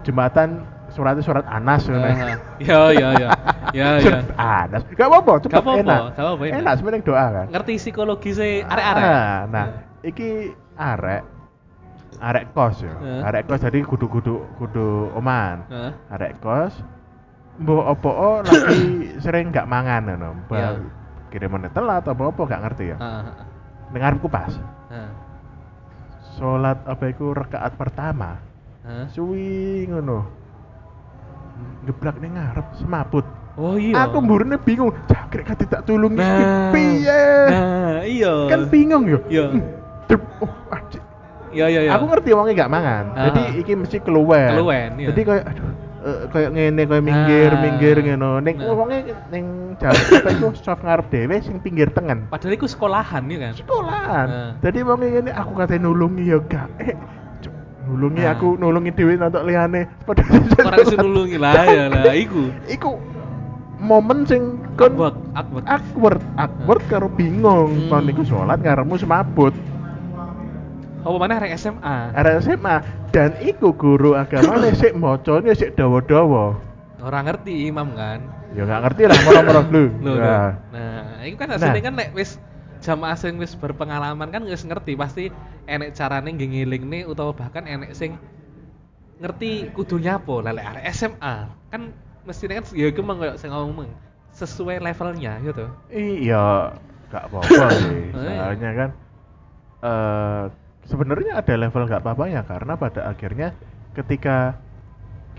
B: jumatan suratnya surat Anas
A: Ah,
B: ngono.
A: ah. Ya, ya, ya. Ya, ya.
B: Surat Anas. Gak apa-apa,
A: Gak
B: cepet
A: apa-apa,
B: enak.
A: gak apa-apa, enak.
B: Enak sebenarnya doa kan.
A: Ngerti psikologi sih arek-arek. Hmm.
B: Ah, Nah, iki arek arek kos ya.
A: Ah.
B: Arek kos jadi kudu-kudu kudu oman.
A: Heeh.
B: arek kos mbok opo lagi sering gak mangan ngono.
A: Iya. Ah.
B: Ba- Kirimannya telat apa apa gak ngerti ya.
A: nah,
B: Dengar aku pas. Salat apa iku rakaat pertama.
A: nah.
B: Suwi ngono. Geblak ning ngarep semaput.
A: Oh iya.
B: Aku mburine bingung, jangkrik kan tidak tulung iki
A: Nah.
B: piye?
A: Nah, iya.
B: Kan bingung yo.
A: Iya.
B: Dep, Oh, ah, cik.
A: Ya, ya, ya.
B: Aku ngerti wongnya gak mangan.
A: Ah.
B: Jadi iki mesti keluar.
A: Keluwen, iya.
B: Jadi kayak aduh eh, kayak ngene kayak minggir
A: Ah.
B: minggir ngono. Ning
A: Nah.
B: wonge ning jalan apa iku soft ngarep dhewe sing pinggir tengen.
A: Padahal iku sekolahan ya kan.
B: Sekolahan.
A: Ah.
B: Jadi wonge ngene aku kate nulungi ya gak. Eh, cuk, nulungi
A: Ah.
B: aku nulungi dhewe nantok liyane.
A: Ora iso nulungi lah ya lah iku.
B: Iku momen sing kon
A: Awkward, awkward. Ah.
B: awkward, awkward karo bingung.
A: Hmm.
B: Kon niku salat ngarepmu semabut.
A: Apa mana rek SMA?
B: Arek SMA dan iku guru agama nih sik mocone sik dawa-dawa.
A: Orang ngerti imam kan.
B: Ya nggak ngerti lah moro-moro dulu.
A: Loh, loh.
B: Nah,
A: Nah, itu kan
B: Nah.
A: aslinya kan nek wis jamaah sing wis berpengalaman kan wis ngerti pasti enek carane nggih ngelingne utawa bahkan enek sing ngerti kudu nyapo lah lek arek SMA. Kan mestinya kan ya iku mang koyo sing ngomong sesuai levelnya gitu.
B: Iya, nggak apa-apa sih.
A: Oh, iya.
B: Soalnya kan eh sebenarnya ada level nggak apa-apa ya karena pada akhirnya ketika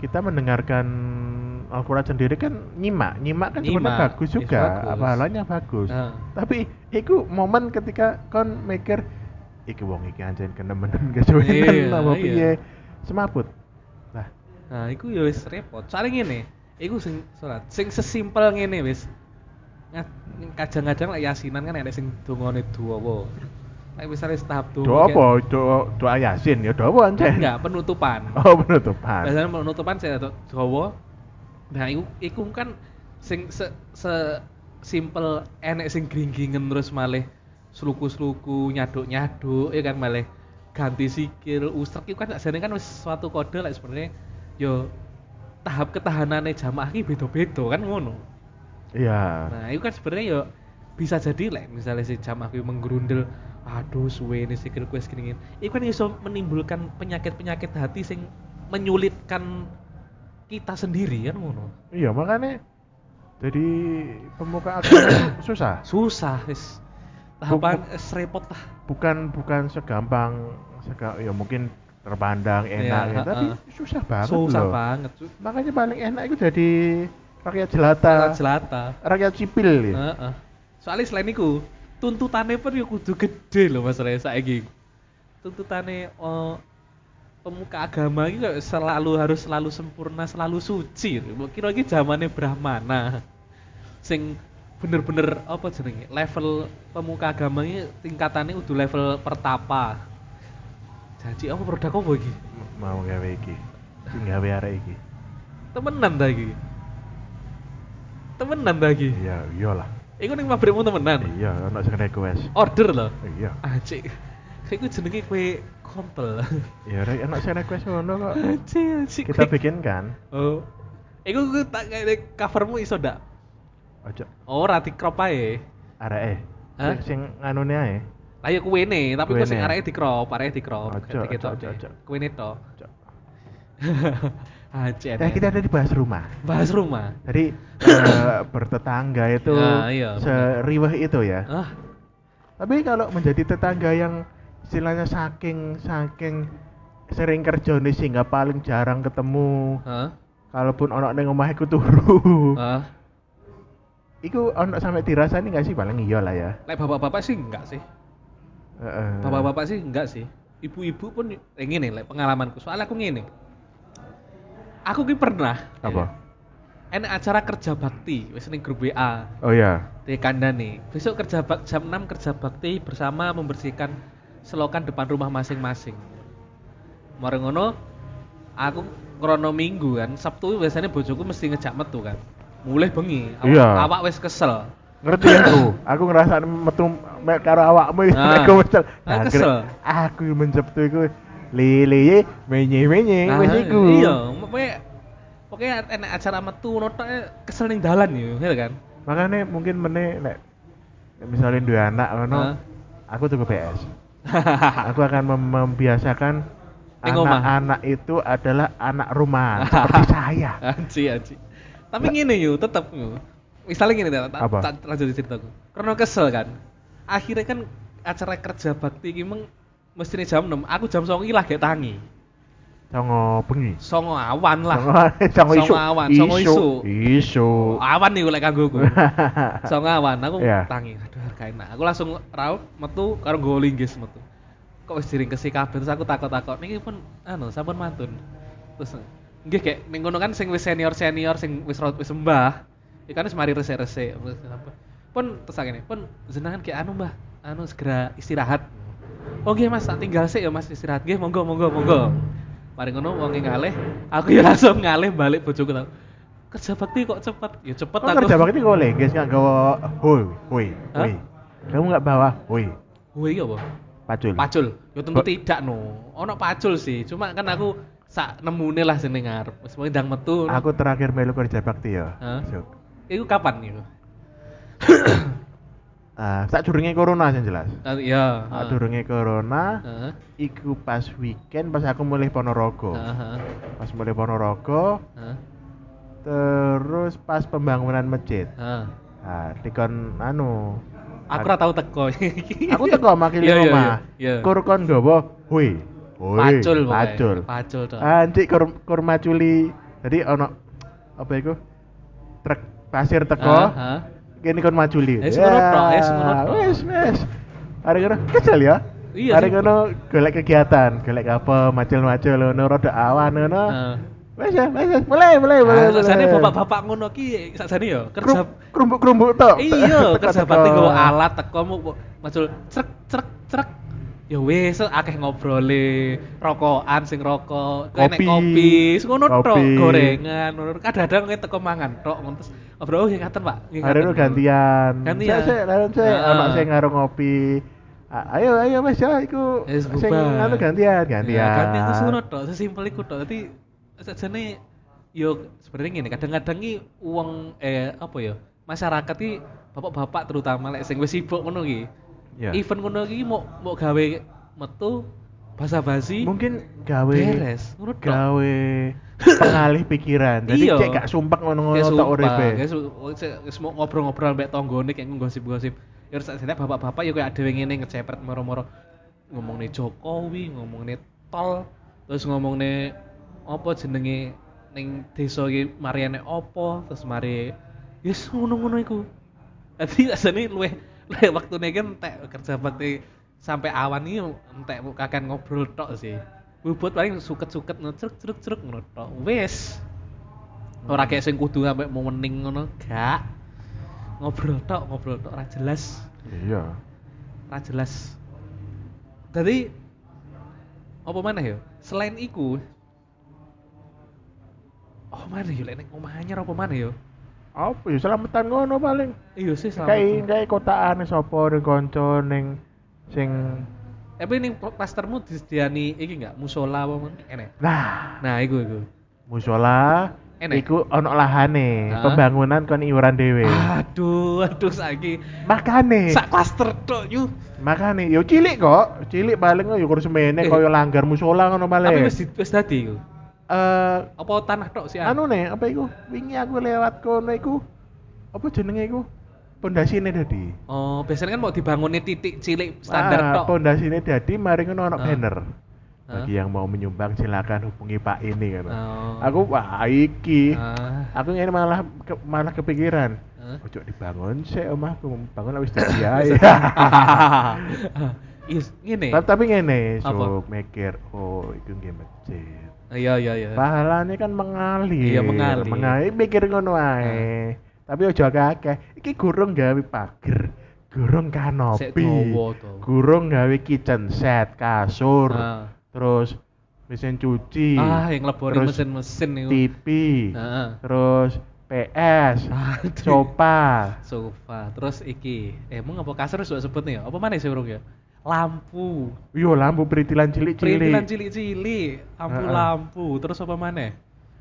B: kita mendengarkan Al-Quran sendiri kan nyimak, nyimak kan sebenarnya
A: Nyimak,
B: bagus
A: iya,
B: juga,
A: bagus. Ah.
B: apalannya bagus.
A: Heeh.
B: Tapi iku momen ketika kon mikir iki wong iki anjen kenemenan kesuwenan
A: Iya,
B: kan, apa
A: iya.
B: piye semaput. Nah,
A: Nah, iku ya wis repot. Soale ngene, iku sing salat sing sesimpel ngene wis. Nga- Kadang-kadang lek yasinan kan enek sing dongane duwa. Lek misalnya tahap
B: doa
A: donga
B: apa? Doa doa Yasin ya doa apa anjen?
A: Enggak, penutupan.
B: Oh, penutupan.
A: Biasanya penutupan saya tuh Jawa. Nah, iku iku kan sing se, se simple enek sing gringgingen terus malih sluku-sluku, nyaduk-nyaduk ya kan malih ganti sikil, ustrek iku kan sakjane kan wis suatu kode lek sebenarnya yo tahap ketahanannya jamaah iki beda-beda kan ngono.
B: Iya.
A: Nah, itu kan sebenarnya ya bisa jadi lah misalnya si jamaah kuwi menggerundel aduh suwe ini sikil kuwi segini itu kan bisa menimbulkan penyakit-penyakit hati sing menyulitkan kita sendiri kan ngono
B: Iya makanya jadi pemuka agama itu susah.
A: susah wis tahapan es repot lah
B: Bukan bukan segampang sega, ya mungkin terpandang enak
A: Iya,
B: ya, tapi
A: heeh.
B: susah banget
A: susah
B: loh.
A: banget Su-
B: Makanya paling enak itu jadi rakyat jelata,
A: Rakyat
B: rakyat,
A: jelata
B: sipil ya.
A: Heeh. soalnya selain itu tuntutannya pun ya kudu gede loh masalahnya saiki tuntutannya eh, pemuka agama itu kayak selalu harus selalu sempurna selalu suci mungkin lagi zamannya Brahmana sing bener-bener apa jenenge level pemuka agama ini tingkatannya udah level pertapa jadi apa produk apa iki
B: Mau gawe iki. Sing gawe arek iki.
A: temenan ta iki temenan ta iki
B: Iya, iyalah.
A: iku ning pabrikmu temenan
B: Iya, ono sing request.
A: order loh
B: Iya.
A: Acik. Ah, Kayak gue jenenge kue kontol.
B: Ya rek ono sing request ngono kok.
A: Ah, Acik, acik.
B: Kita
A: kue-
B: bikin kan.
A: Oh. Iku gue tak kayak covermu iso ndak? Oh,
B: Ojo
A: Ora di crop ae.
B: arek e.
A: Hah?
B: Sing sing anune ae.
A: Lah ya kuene, tapi gue sing
B: Kuene.
A: areke di crop, areke di crop.
B: Ojo,
A: Ganti ketok
B: ojo,
A: deh.
B: ojo.
A: Kuene to.
B: Ojo.
A: Acik.
B: Eh, kita ada di bahas rumah.
A: bahas rumah.
B: Jadi eh, bertetangga itu
A: Ya, iya,
B: seriweh itu ya.
A: Ah,
B: Tapi kalau menjadi tetangga yang istilahnya saking saking sering kerja nih sehingga paling jarang ketemu.
A: hah?
B: Kalaupun ono ning omahku turu.
A: Ah.
B: Iku ono sampai dirasani nggak sih paling iya lah ya.
A: Lek bapak-bapak sih enggak sih.
B: Eh. Heeh.
A: Bapak-bapak sih enggak sih. Ibu-ibu pun eh, ngene lek pengalamanku. Soalnya aku ngene. aku ki pernah
B: Apa?
A: enak acara kerja bakti wis ning grup WA
B: Oh iya.
A: di kandani besok kerja bak jam 6 kerja bakti bersama membersihkan selokan depan rumah masing-masing Mare ngono aku krono minggu kan Sabtu biasanya bojoku mesti ngejak metu kan mulai bengi awak,
B: Iya.
A: awak wis kesel
B: Ngerti ya aku. Aku ngerasa metu me, karo awakmu iki
A: Nah.
B: aku kesel.
A: Aku
B: Nah,
A: kesel.
B: kira- Aku menjeptu iku lele menye menye
A: Nah,
B: wis iku.
A: iya pokoknya pokoknya enak acara metu notoknya kesel ning dalan ya ngerti kan
B: Makanya mungkin meneh nek nek misalnya dua anak ngono,
A: Heeh.
B: aku tuh PS. aku akan mem- membiasakan
A: Ning omah.
B: anak-anak itu adalah anak rumah seperti saya.
A: Anji, anji. Tapi gini yuk, tetap yuk. Misalnya gini, tak
B: Apa?
A: tak lanjut ceritaku. Karena kesel kan. Akhirnya kan acara kerja bakti ini meng mestinya jam 6. Aku jam 9 lah kayak tangi.
B: Songo bengi.
A: Songo awan lah.
B: Songo
A: Songo
B: isu.
A: awan, songo isu. Oh,
B: Isu.
A: Awan nih lek kanggo aku. Songo awan, aku
B: Iya.
A: tangi. Aduh, harga enak. Aku langsung raup metu karo nggo linggis metu. Kok wis diringkesi kabeh terus aku takut-takut. Niki pun anu sampun mantun. Terus nggih kayak ning kono kan sing wis senior-senior sing wis raut wis sembah. Ya kan wis mari resik-resik. Terus apa. Pun terus ngene, pun jenengan kayak anu Mbah, anu segera istirahat. Oh nggih Mas, tak tinggal sik ya Mas istirahat. Nggih monggo monggo monggo. Mari ngono wonge ngalih, aku ya langsung ngalih balik bojoku tau. Kerja bakti kok cepet. Ya cepet
B: Kok Oh, kerja bakti kok lenggis nggak gawa hoi, hoi,
A: Hah?
B: hoi. Kamu nggak bawa hoi,
A: Wih, iya, Boh.
B: pacul.
A: Pacul. Ya tentu
B: Ba-
A: tidak no. Ono pacul sih. Cuma kan aku sak nemune lah sini ngarep. Wis mau ndang metu. no.
B: Aku terakhir melu kerja bakti ya.
A: Hah?
B: Juk.
A: Iku kapan iku?
B: Ah, tak durunge corona sing jelas.
A: Ah, Iya.
B: Tak durunge corona,
A: Heeh.
B: iku pas weekend pas aku mulai Ponorogo.
A: Heeh.
B: Pas mulai Ponorogo,
A: Heeh.
B: terus pas pembangunan masjid.
A: Heeh.
B: Nah, dikon anu.
A: Aku ora tau teko.
B: Aku teko makili
A: Iya, iya, iya,
B: omah.
A: iya.
B: Kur kon gawa hoi. Hoi.
A: Pacul pokoknya.
B: pacul.
A: Pacul to.
B: Anjir kur kur maculi. Jadi ono apa iku? Truk pasir teko.
A: Heeh.
B: Kene kon maculi.
A: Eh, semono tok, eh, semono tok.
B: Wes, wes. Ya, Hari kono kesel ya.
A: Iya,
B: Hari
A: sih.
B: kono golek kegiatan, golek apa, macul-macul ngono rada awan ngono.
A: Heeh.
B: Wes, ya, wes, wes. mulai, mulai,
A: Nah.
B: mulai.
A: Ah, Rasane
B: mulai.
A: bapak-bapak ngono ki sakjane ya kerja
B: Krum- kerumbuk-kerumbuk tok.
A: Iya,
B: Teko-teko.
A: kerja bakti nggawa alat teko mu mu- macul crek crek crek. Ya wis akeh ngobrole, rokokan sing rokok, kowe nek
B: Kopi.
A: kopi, wis ngono tok,
B: Kopi.
A: gorengan, ngono. Kadang-kadang kowe teko mangan tok, ngono terus ngobrol oh nggih ngaten, Pak. Nggih,
B: Hari itu
A: ngaten."
B: gantian.
A: Gantian.
B: Saya lalu saya
A: Heeh.
B: anak saya ngaruh ngopi. A- Ayo ayo Mas ya iku
A: Wis
B: sing
A: bubar.
B: anu gantian,
A: Ya,
B: gantian.
A: gantian terus ngono tok, sesimpel iku tok. Dadi sajane yo sebenarnya ngene, kadang-kadang ki uang eh apa ya? Masyarakat ki bapak-bapak terutama lek sing wis sibuk ngono ki.
B: Ya.
A: event ngono iki mau mau gawe metu basa-basi
B: Mungkin gawe
A: beres ngono tok.
B: gawe pengalih pikiran. Jadi
A: Iya.
B: cek gak sumpek ngono-ngono
A: Kayak
B: tok
A: sumpah,
B: uripe.
A: kayak su- oh, se- wis mau ngobrol-ngobrol mbek tanggane kayak nggosip-gosip. Ya terus sakjane bapak-bapak ya kayak dhewe ngene ngecepet moro-moro ngomongne Jokowi, ngomongne tol, terus ngomongne apa jenenge ning desa iki mariane apa, terus mari yes ngono-ngono iku. Dadi rasane luwih luwih wektune iki entek kerja bakti sampai awan iki entek kakan ngobrol tok sih. Bubut paling suket-suket ngecruk-cruk-cruk ngono tok. Wis. Ora kayak sing kudu sampe mau mening ngono, gak. Ngobrol tok, ngobrol tok ora jelas,
B: Iya.
A: ora jelas. Jadi apa mana ya? Selain iku Oh mana ya? Lek nek omah anyar apa mana ya?
B: Apa ya selamatan ngono paling.
A: Iya sih selamat.
B: Kayak kayak kotaan sapa ning kanca ning sing
A: Tapi ning klastermu disediani iki enggak musola apa men? Enek.
B: nah
A: Nah, iku iku.
B: musola
A: Enek.
B: iku ono lahane,
A: Heeh.
B: pembangunan kon iuran dhewe.
A: Ah. Aduh, aduh saiki
B: Makane.
A: sak klaster tok yu.
B: Makane yo cilik kok, cilik paling yo kurus semene
A: Eh.
B: kaya langgar musola ngono
A: Tapi
B: paling. Eh
A: wis di- wis dadi iku. Apa tanah tok sih?
B: anu ne, apa iku? Wingi aku lewat kono iku apa jenenge iku? Pondasine dadi.
A: Oh, biasanya kan mau dibangunnya titik cilik standar
B: Ah,
A: tok.
B: Pondasine dadi mari ngono ana
A: Ah.
B: banner.
A: Ah.
B: Bagi yang mau menyumbang silakan hubungi Pak ini kan.
A: Oh.
B: Aku wah iki.
A: Ah.
B: Aku ngene malah ke, malah kepikiran.
A: Ah.
B: Ojo dibangun sik omahku, bangun wis dadi ae.
A: Hahaha. Is Ah, iya, ngene.
B: Tapi tapi ngene,
A: Apa?
B: Sob, mikir, oh itu nggih masjid.
A: Iya iya iya.
B: Pahalanya kan mengalir.
A: Eh, Iya, mengalir. Eh.
B: Mengalir mikir ngono ae. Tapi ojo akeh-akeh. Iki gurung gawe pager, gurung
A: Sik
B: kanopi,
A: dawa to.
B: gurung gawe kitchen set, kasur,
A: Ah.
B: terus mesin cuci,
A: Ah, yang lebori
B: terus
A: mesin-mesin itu.
B: TV,
A: Heeh.
B: terus PS,
A: Aduh.
B: sopa,
A: Sofa, terus iki. Emang apa kasur sudah sebut nih? ya? Apa mana sih urung ya? Lampu.
B: yo lampu peritilan
A: Perintilan
B: cilik-cilik,
A: cilik-cilik, lampu
B: Heeh.
A: lampu, terus apa mana?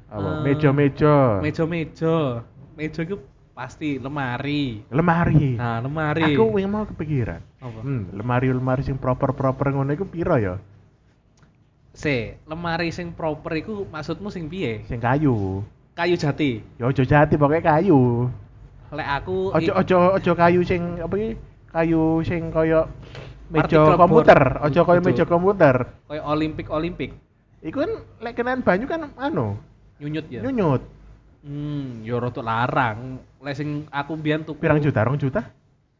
B: Apa?
A: Eh,
B: meja-meja,
A: Meja-meja. Meja itu pasti lemari.
B: lemari.
A: Nah, lemari.
B: Aku yang mau kepikiran.
A: Apa?
B: Hmm, lemari-lemari sing proper-proper ngono iku piro ya?
A: C, lemari sing proper iku maksudmu sing piye?
B: Sing kayu.
A: Kayu jati.
B: Ya ojo jati pokoknya kayu.
A: Lek aku
B: Ojo
A: i-
B: ojo ojo kayu sing apa iki? Kayu sing koyo meja
A: Partikel
B: komputer,
A: board.
B: ojo koyo
A: Betul.
B: meja komputer.
A: koyo olimpik olimpik
B: Iku kan lek kenaan banyu kan anu,
A: nyunyut ya.
B: nyunyut.
A: Hmm, yo rotok larang. Lek sing aku mbiyen tuku
B: Pirang juta, rong juta?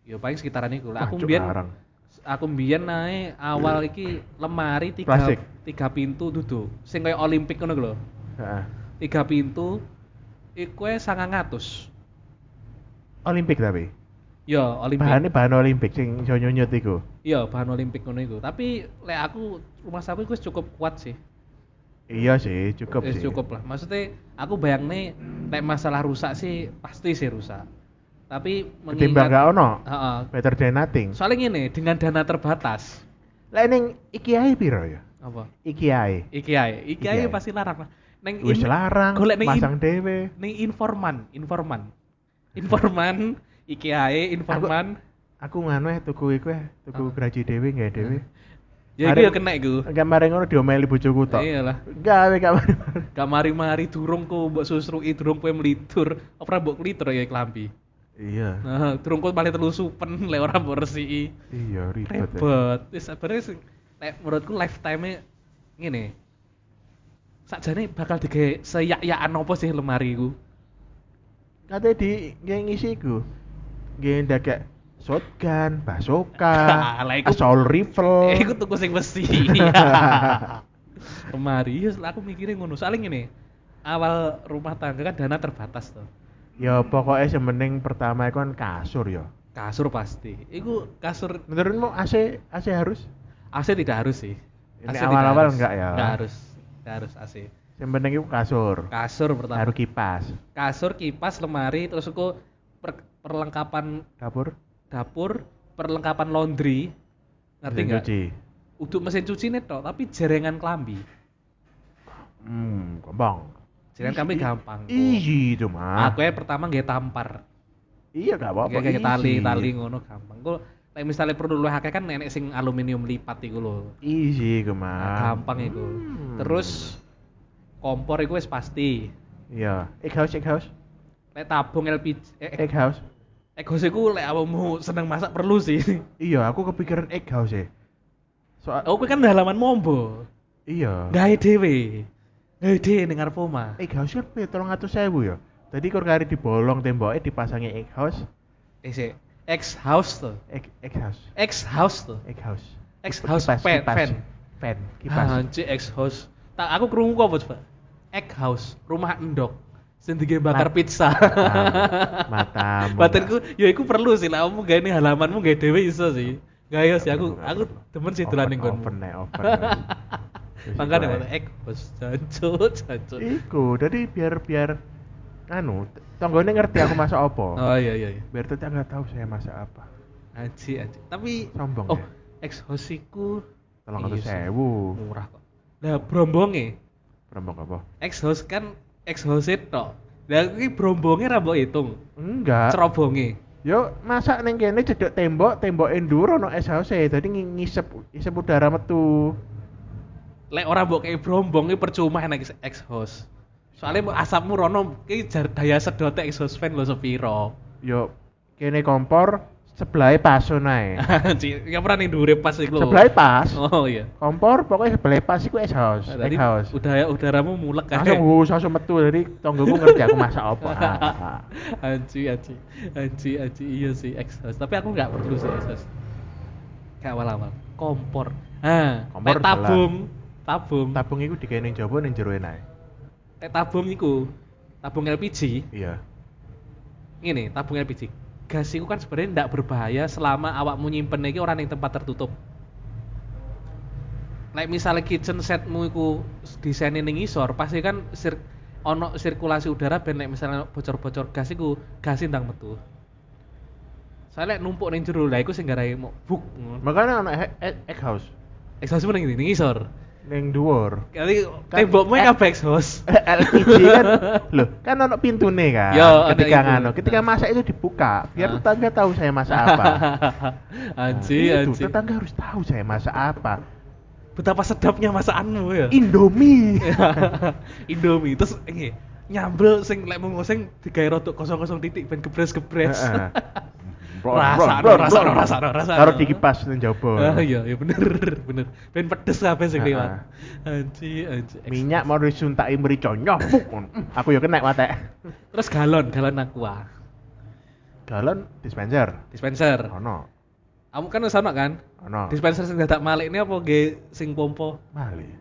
A: Yo paling sekitaran iku. Lek aku
B: Wah, cuk,
A: mbiyen
B: larang.
A: aku mbiyen nae awal iki lemari tiga
B: Plastik.
A: tiga pintu duduk. Sing koyo olimpik ngono iku lho.
B: Heeh.
A: Tiga pintu iku 900.
B: Olimpik tapi.
A: Yo, olimpik.
B: Bahannya bahan olimpik sing iso nyunyut iku.
A: Iya, bahan olimpik ngono iku. Tapi lek aku rumah saku iku wis cukup kuat sih.
B: Iya sih, cukup
A: Eh,
B: sih.
A: cukup lah. Maksudnya aku bayang nih, nek masalah rusak sih pasti sih rusak. Tapi mengingat,
B: Ketimbang gak ono,
A: Heeh.
B: better than nothing.
A: soalnya gini, dengan dana terbatas,
B: Lah ning iki ae piro ya?
A: apa?
B: Iki ae.
A: Iki ae, iki ae
B: Iki ae.
A: pasti larang lah. Neng
B: Wis
A: in-
B: larang,
A: golek ning
B: masang
A: in-
B: dhewe.
A: neng informan, informan, informan, iki ae, informan.
B: Aku nganu eh tuku iku eh, tuku
A: Ah.
B: graji dhewe nggae dhewe.
A: Ya iku
B: Mari-
A: ya kena iku.
B: Enggak mari ngono diomelih bojoku tok.
A: Iyalah.
B: Gawe gak mari.
A: Gak mari-mari durung ku mbok susrui, durung kowe melitur, apa mbok klitur ya klambi.
B: Iya.
A: Nah, durung kowe malah telusupen lek ora mbok resiki.
B: Iya ribet. ya.
A: ribet wis sebenarnya sih nek menurutku lifetime nya ngene sakjane bakal digawe seyak-yakan apa sih lemari ku
B: Katanya di nggih ngisi iku. Nggih ndagek shotgun, basoka,
A: Lah, iku-
B: assault rifle.
A: eh aku tuku sing besi lemari yes lah aku mikirnya ngono soalnya ngene awal rumah tangga kan dana terbatas tuh
B: Ya pokoknya semening pertama iku kan kasur ya.
A: kasur pasti iku kasur
B: Menurutmu AC AC harus?
A: AC tidak harus sih
B: Ini
A: tidak
B: awal-awal
A: harus.
B: enggak ya?
A: enggak harus enggak harus AC
B: Semening iku kasur.
A: kasur pertama
B: Harus kipas.
A: kasur kipas lemari terus aku per- perlengkapan
B: Dapur.
A: dapur perlengkapan laundry ngerti
B: mesin
A: nggak
B: cuci.
A: untuk mesin cuci nih toh tapi jerengan kelambi
B: Hmm, gampang.
A: jerengan kelambi gampang kok.
B: Easy cuma.
A: aku ya pertama nggak tampar
B: Iya gak apa-apa.
A: nggak kayak tali
B: easy.
A: tali ngono gampang kok like misalnya perlu lu akeh kan nenek sing aluminium lipat iku lho
B: Easy kemang.
A: gampang iku
B: Ah. Hmm.
A: terus kompor iku wis pasti
B: Iya. Egg house, egg house,
A: lek tabung LPG eh, eh,
B: egg house.
A: egos iku lek awakmu seneng masak perlu sih
B: Iya, aku kepikiran egg house ya. Soal
A: oh ya? kowe kan halaman mombo
B: iya.
A: gawe dhewe gawe dhewe ning ngarep omah
B: Egg house kan piro 300.000 ya. Tadi kau kari dibolong temboknya dipasangi egg house,
A: Eh, sik. X house tuh.
B: egg, egg house,
A: X house tuh.
B: egg house.
A: X
B: Kip-
A: house
B: Eh, kipas,
A: fan,
B: kipas,
A: fan. Ah,
B: fan, kipas.
A: Anjir X house. Tak aku krungu kok apa coba. X house, rumah endok. Sendiri bakar
B: Mat-
A: pizza.
B: Matamu.
A: Batinku, ya iku perlu sih lah. Kamu gak ini halamanmu gak dewe iso sih. Gak ya sih aku,
B: Gak
A: aku
B: perlu.
A: demen sih
B: Open,
A: dolan ning
B: Open
A: kono.
B: nek, open. Wis
A: Makanya
B: iku
A: kata
B: ae.
A: X house, jancuk, jancuk.
B: Iku, jadi biar biar anu, tanggone ngerti aku masak apa.
A: Oh iya iya. iya.
B: Biar tetangga tahu saya masak apa.
A: Anjir anjir. Tapi
B: Sombong
A: oh,
B: ya.
A: X house iku
B: Tolong
A: Iya
B: kata
A: sih.
B: sewu.
A: murah kok. Nah, brombonge
B: Rombong apa?
A: ex host kan ex host tok. Lah iki brombonge ra mbok hitung,
B: Enggak.
A: cerobonge.
B: Yo, masak neng kene cedek tembok, tembok enduro no es house jadi ngi- ngisep isep udara metu.
A: Lek ora mbok kei brombong iki percuma nek ex host. Soalnya mbok asapmu rono iki jar- daya sedote ex host fan lho sepiro.
B: Yo, kene kompor sebelahnya pasun ae.
A: Cik, ya pernah ning dhuwure pas iku lho.
B: sebelahnya pas.
A: Oh iya.
B: Kompor pokoknya sebelahnya pas iku es house,
A: Nah,
B: es
A: Tadi
B: house.
A: udara udaramu mulek kan? kae.
B: Langsung wus, langsung metu dari tonggoku ngerti aku masak apa. Ah, ah.
A: Anji, anji, anji, anji, iya sih ex host. Tapi aku nggak perlu sih ex host. Kayak awal-awal. kompor. Ah, nek
B: Kompor
A: tabung, tabung,
B: Tabung iku digawe ning jaba ning jero enae.
A: nek tabung iku tabung LPG.
B: Iya.
A: Ini tabung LPG. Gas itu kan sebenarnya tidak berbahaya selama awakmu nyimpen iki orang yang tempat tertutup. Nek misalnya kitchen setmu iku desainnya ning isor, pasti kan sir ono sirkulasi udara ben nek misalnya bocor-bocor gas iku gas ndang metu. Soalnya nek numpuk ning jero lah iku sing garai mau buk.
B: Makanya ana he- he- egg house
A: Exhaust ning ndi? ning isor.
B: ning dhuwur.
A: Kali
B: Kan-
A: tembokmu
B: eh.
A: kabeh exhaust.
B: LPG kan loh kan ono pintune kan
A: Yo, ono
B: ketika
A: itu.
B: ngano ketika masak itu dibuka biar
A: Ah.
B: tetangga tahu saya masak apa
A: anji,
B: Nah, itu,
A: anji.
B: tetangga harus tahu saya masak apa
A: Betapa sedapnya masakanmu
B: Iya.
A: ya.
B: Indomie
A: Indomie terus ini nyambel sing lek mung sing digawe rodok kosong-kosong titik ben gebres-gebres.
B: Heeh.
A: Rasakno,
B: Blon, blon,
A: rasakno,
B: blon.
A: rasakno, rasakno.
B: Taruh di kipas nang jaba
A: Ah iya, iya bener, bener. Ben pedes kabeh sing
B: Heeh.
A: lewat. Anji, anji.
B: minyak mau disuntaki merica nyopuk Hmm, aku yo kena watek
A: Terus galon, galon aqua.
B: galon dispenser
A: Dispenser.
B: ono
A: Kamu kan wis ono kan?
B: ono
A: Dispenser sing dadak malik ini apa nggih sing pompo?
B: mali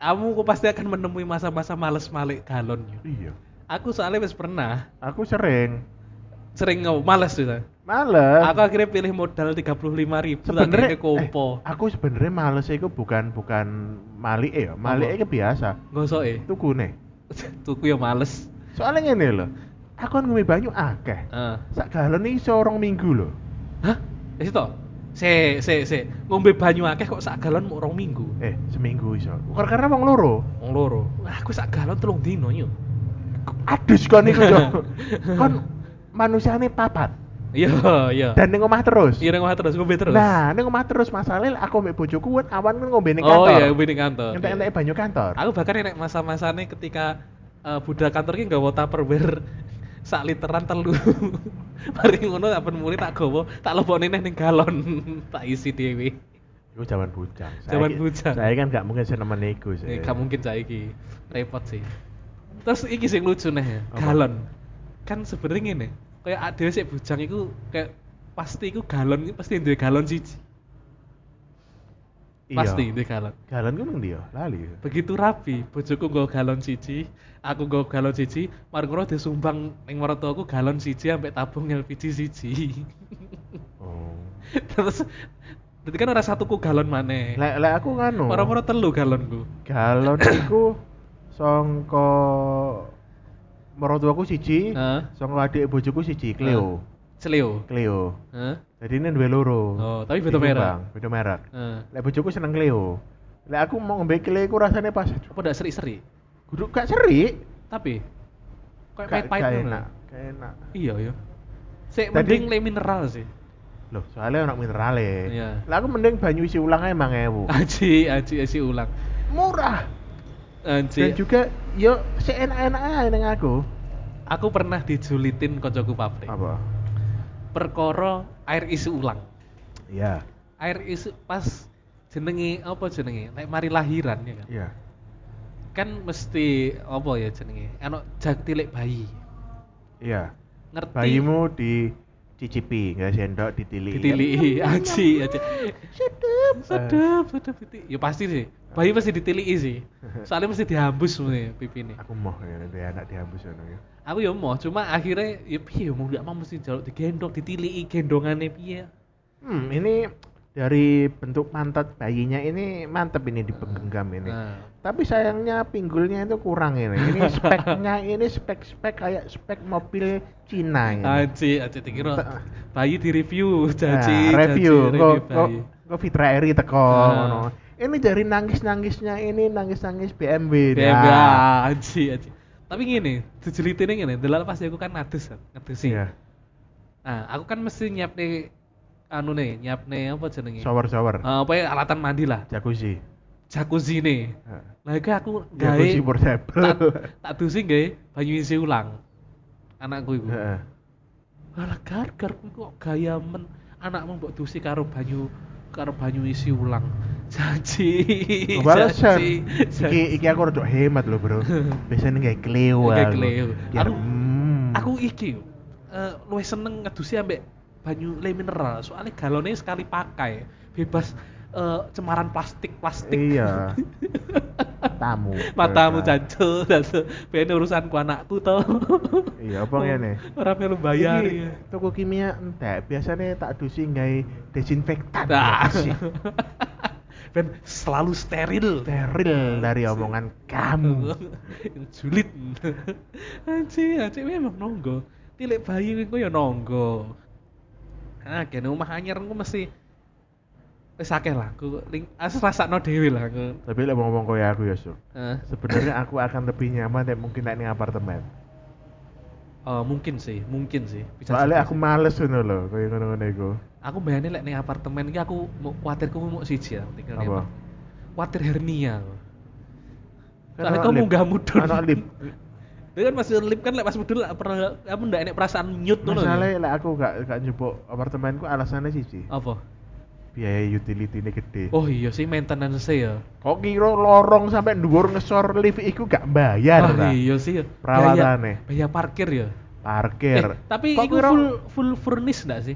A: Kamu kok pasti akan menemui masa-masa males malik galon. yo.
B: iya
A: Aku soalnya wis pernah
B: aku sering
A: sering ngomong males gitu.
B: males
A: Aku akhirnya pilih modal 35.000 ribu
B: sebenarnya
A: kompo.
B: eh, aku sebenarnya males iku bukan bukan mali ya mali
A: Apa?
B: iku biasa
A: Ngosoke.
B: tuku nih
A: tuku ya males
B: soalnya ngene lho aku kan ngombe banyu akeh
A: Heeh.
B: sak galon iki iso rong minggu lho
A: hah ya situ se se se ngombe banyu akeh kok sak galon mau rong minggu
B: eh seminggu iso Kar- karena wong loro
A: wong loro Wah, aku sak galon telung dino yo
B: adus kon iku yo kon manusiane papat
A: iya iya
B: dan ning omah terus
A: iya nang omah terus ngombe terus
B: nah ning omah terus masalahnya aku mbek bojoku kan awan kan ngombe ning
A: oh
B: kantor
A: iya ngombe ning kantor
B: entek-entek banyu kantor
A: aku bahkan nek masa-masane ketika eh, budal kantor ki nggawa tupperware sak literan telu mari ngono tak ben muni tak gowo tak lebokne neh ning galon tak isi dhewe
B: iku jaman bujang
A: Jaman
B: ki-
A: bujang.
B: saya kan gak mungkin seneng
A: Ini
B: iku sih
A: gak mungkin saiki. Repot sih. Terus iki sing lucu nih ya,
B: Apa?
A: galon. Kan sebenarnya ngene, kayak adewe sik bujang iku kayak pasti iku galon iku pasti duwe galon siji.
B: Iya.
A: Pasti duwe galon.
B: galon ku nang ndi ya? yo lali
A: Begitu rapi, bojoku nggo galon siji, aku nggo galon siji, mari ngono disumbang ning mertuaku galon siji sampai tabung LPG siji.
B: oh
A: Terus berarti kan ora satuku galon maneh.
B: lek lek aku nganu
A: Moro-moro telu galonku.
B: galon iku songko mertuaku siji
A: Heeh.
B: songko adik bojoku siji Cleo
A: Celio.
B: Cleo
A: Heeh.
B: jadi ini dua loro
A: Oh, tapi beda
B: Iku,
A: merek.
B: Bang, beda merek
A: Heeh.
B: lek bojoku seneng Cleo lek aku mau ngombe Cleo aku rasanya pas
A: Apa ndak seri-seri?
B: guduk gak seri
A: tapi kayak
B: gak,
A: pahit pahit
B: gak
A: ngono.
B: enak gak enak
A: iya iya sih
B: Tadi-
A: mending le mineral sih
B: loh soalnya anak mineral
A: Iya.
B: ya lek aku mending banyu isi ulang emang ewu
A: aji aji aji ulang
B: murah dan
A: aji
B: juga yo seenak-enak aja neng aku
A: aku pernah dijulitin koncoku pabrik
B: apa
A: perkoro air isi ulang
B: iya
A: air isi pas jenenge apa jenenge nek mari lahiran ya kan
B: iya
A: kan mesti apa ya jenenge eno jak tilik bayi
B: iya
A: ngerti
B: bayimu dicicipi nggak sendok ditilik
A: ditili
B: Iya,
A: aji aji
B: sedap
A: sedap sedap itu ya pasti sih bayi mesti ditili sih soalnya mesti dihambus nih pipine
B: aku mau ya nanti anak dihambus ngono ya
A: aku ya mau cuma akhirnya ya piye mau gak mau mesti jaluk digendong ditiliki gendongannya piye
B: hmm ini dari bentuk pantat bayinya ini mantep ini dipegenggam ini
A: nah
B: tapi sayangnya pinggulnya itu kurang ini ini speknya ini spek spek kayak spek mobil Cina ini
A: aci aci dikira bayi di review
B: Hmm. Nah,
A: caci
B: review
A: caci,
B: kok kok
A: bayi Iya,
B: kok Fitra Eri teko
A: Ah.
B: ngono. ini dari nangis nangisnya ini nangis nangis BMW
A: bebas
B: nah.
A: aci aci tapi gini dijelitinnya gini delal pas aku kan nades kan ngedusi
B: Iya.
A: nah aku kan mesti nyiapne anu nih nyiapne apa jenenge
B: shower
A: Eh,
B: shower
A: apa ya alatan mandi lah
B: jacuzzi
A: jacuzzi nih
B: Heeh.
A: lah iku aku gawe
B: jacuzzi
A: tak,
B: portable
A: tak dusi gawe banyu isi ulang anakku iku
B: Heeh.
A: Alah gargar kuwi kok gaya men anakmu mbok dusi karo banyu karo banyu isi ulang. Janji.
B: Balasan.
A: janji,
B: Iki
A: janji.
B: iki aku rodok hemat loh, Bro. Biasanya kayak kleo.
A: Kayak
B: aku.
A: kleo.
B: Biar,
A: Aku-
B: hmm.
A: Aku iki eh luwih seneng ngedusi ambek banyu le mineral soalnya galonnya sekali pakai bebas eh, cemaran plastik-plastik.
B: Iya. Tamu.
A: Matamu
B: Mereka.
A: jancel dan se- ben urusanku anakku to.
B: Iya, apa ngene?
A: Ora perlu bayar
B: Iki
A: ya.
B: Toko kimia entek, biasanya tak dusi nggae desinfektan.
A: Nah.
B: Asik.
A: ben selalu steril.
B: Steril dari omongan kamu.
A: Julid. Anci, anci memang nonggo. Tilik bayi kuwi ku ya nonggo. Ah, kene omah anyar ku mesti wis akeh lah aku ling as rasakno dhewe lah aku.
B: Tapi lek ngomong koyo aku ya, Sob.
A: Eh,
B: Sebenarnya aku akan lebih nyaman dan mungkin naik ning apartemen.
A: eh, mungkin sih, mungkin sih. Bisa
B: Soalnya
A: jadi
B: aku
A: sih.
B: males ngono lho, koyo ngono-ngono iku.
A: aku bayangin lek ning apartemen iki aku mau- kuatirku mau siji ya tinggal ning
B: Apa?
A: apartemen. Kuatir hernia. aku.
B: Kan
A: Soalnya
B: ono
A: kau
B: lip.
A: munggah mudun.
B: Ono lip.
A: Dia kan masih lip kan lek pas mudun lek pernah kamu ndak enek perasaan nyut ngono lho.
B: Masalahnya lek aku gak gak njupuk apartemenku alasannya siji.
A: Apa?
B: Biaya utility ini gede.
A: Oh iya sih maintenance ya.
B: Kok kira lorong sampai dhuwur ngesor lift iku gak bayar
A: oh,
B: ta?
A: iya sih ya.
B: Perawatane.
A: Biaya- Biaya parkir ya.
B: Parkir.
A: Eh, tapi
B: Iya. Kok
A: itu
B: kira-
A: full full furnish ndak sih?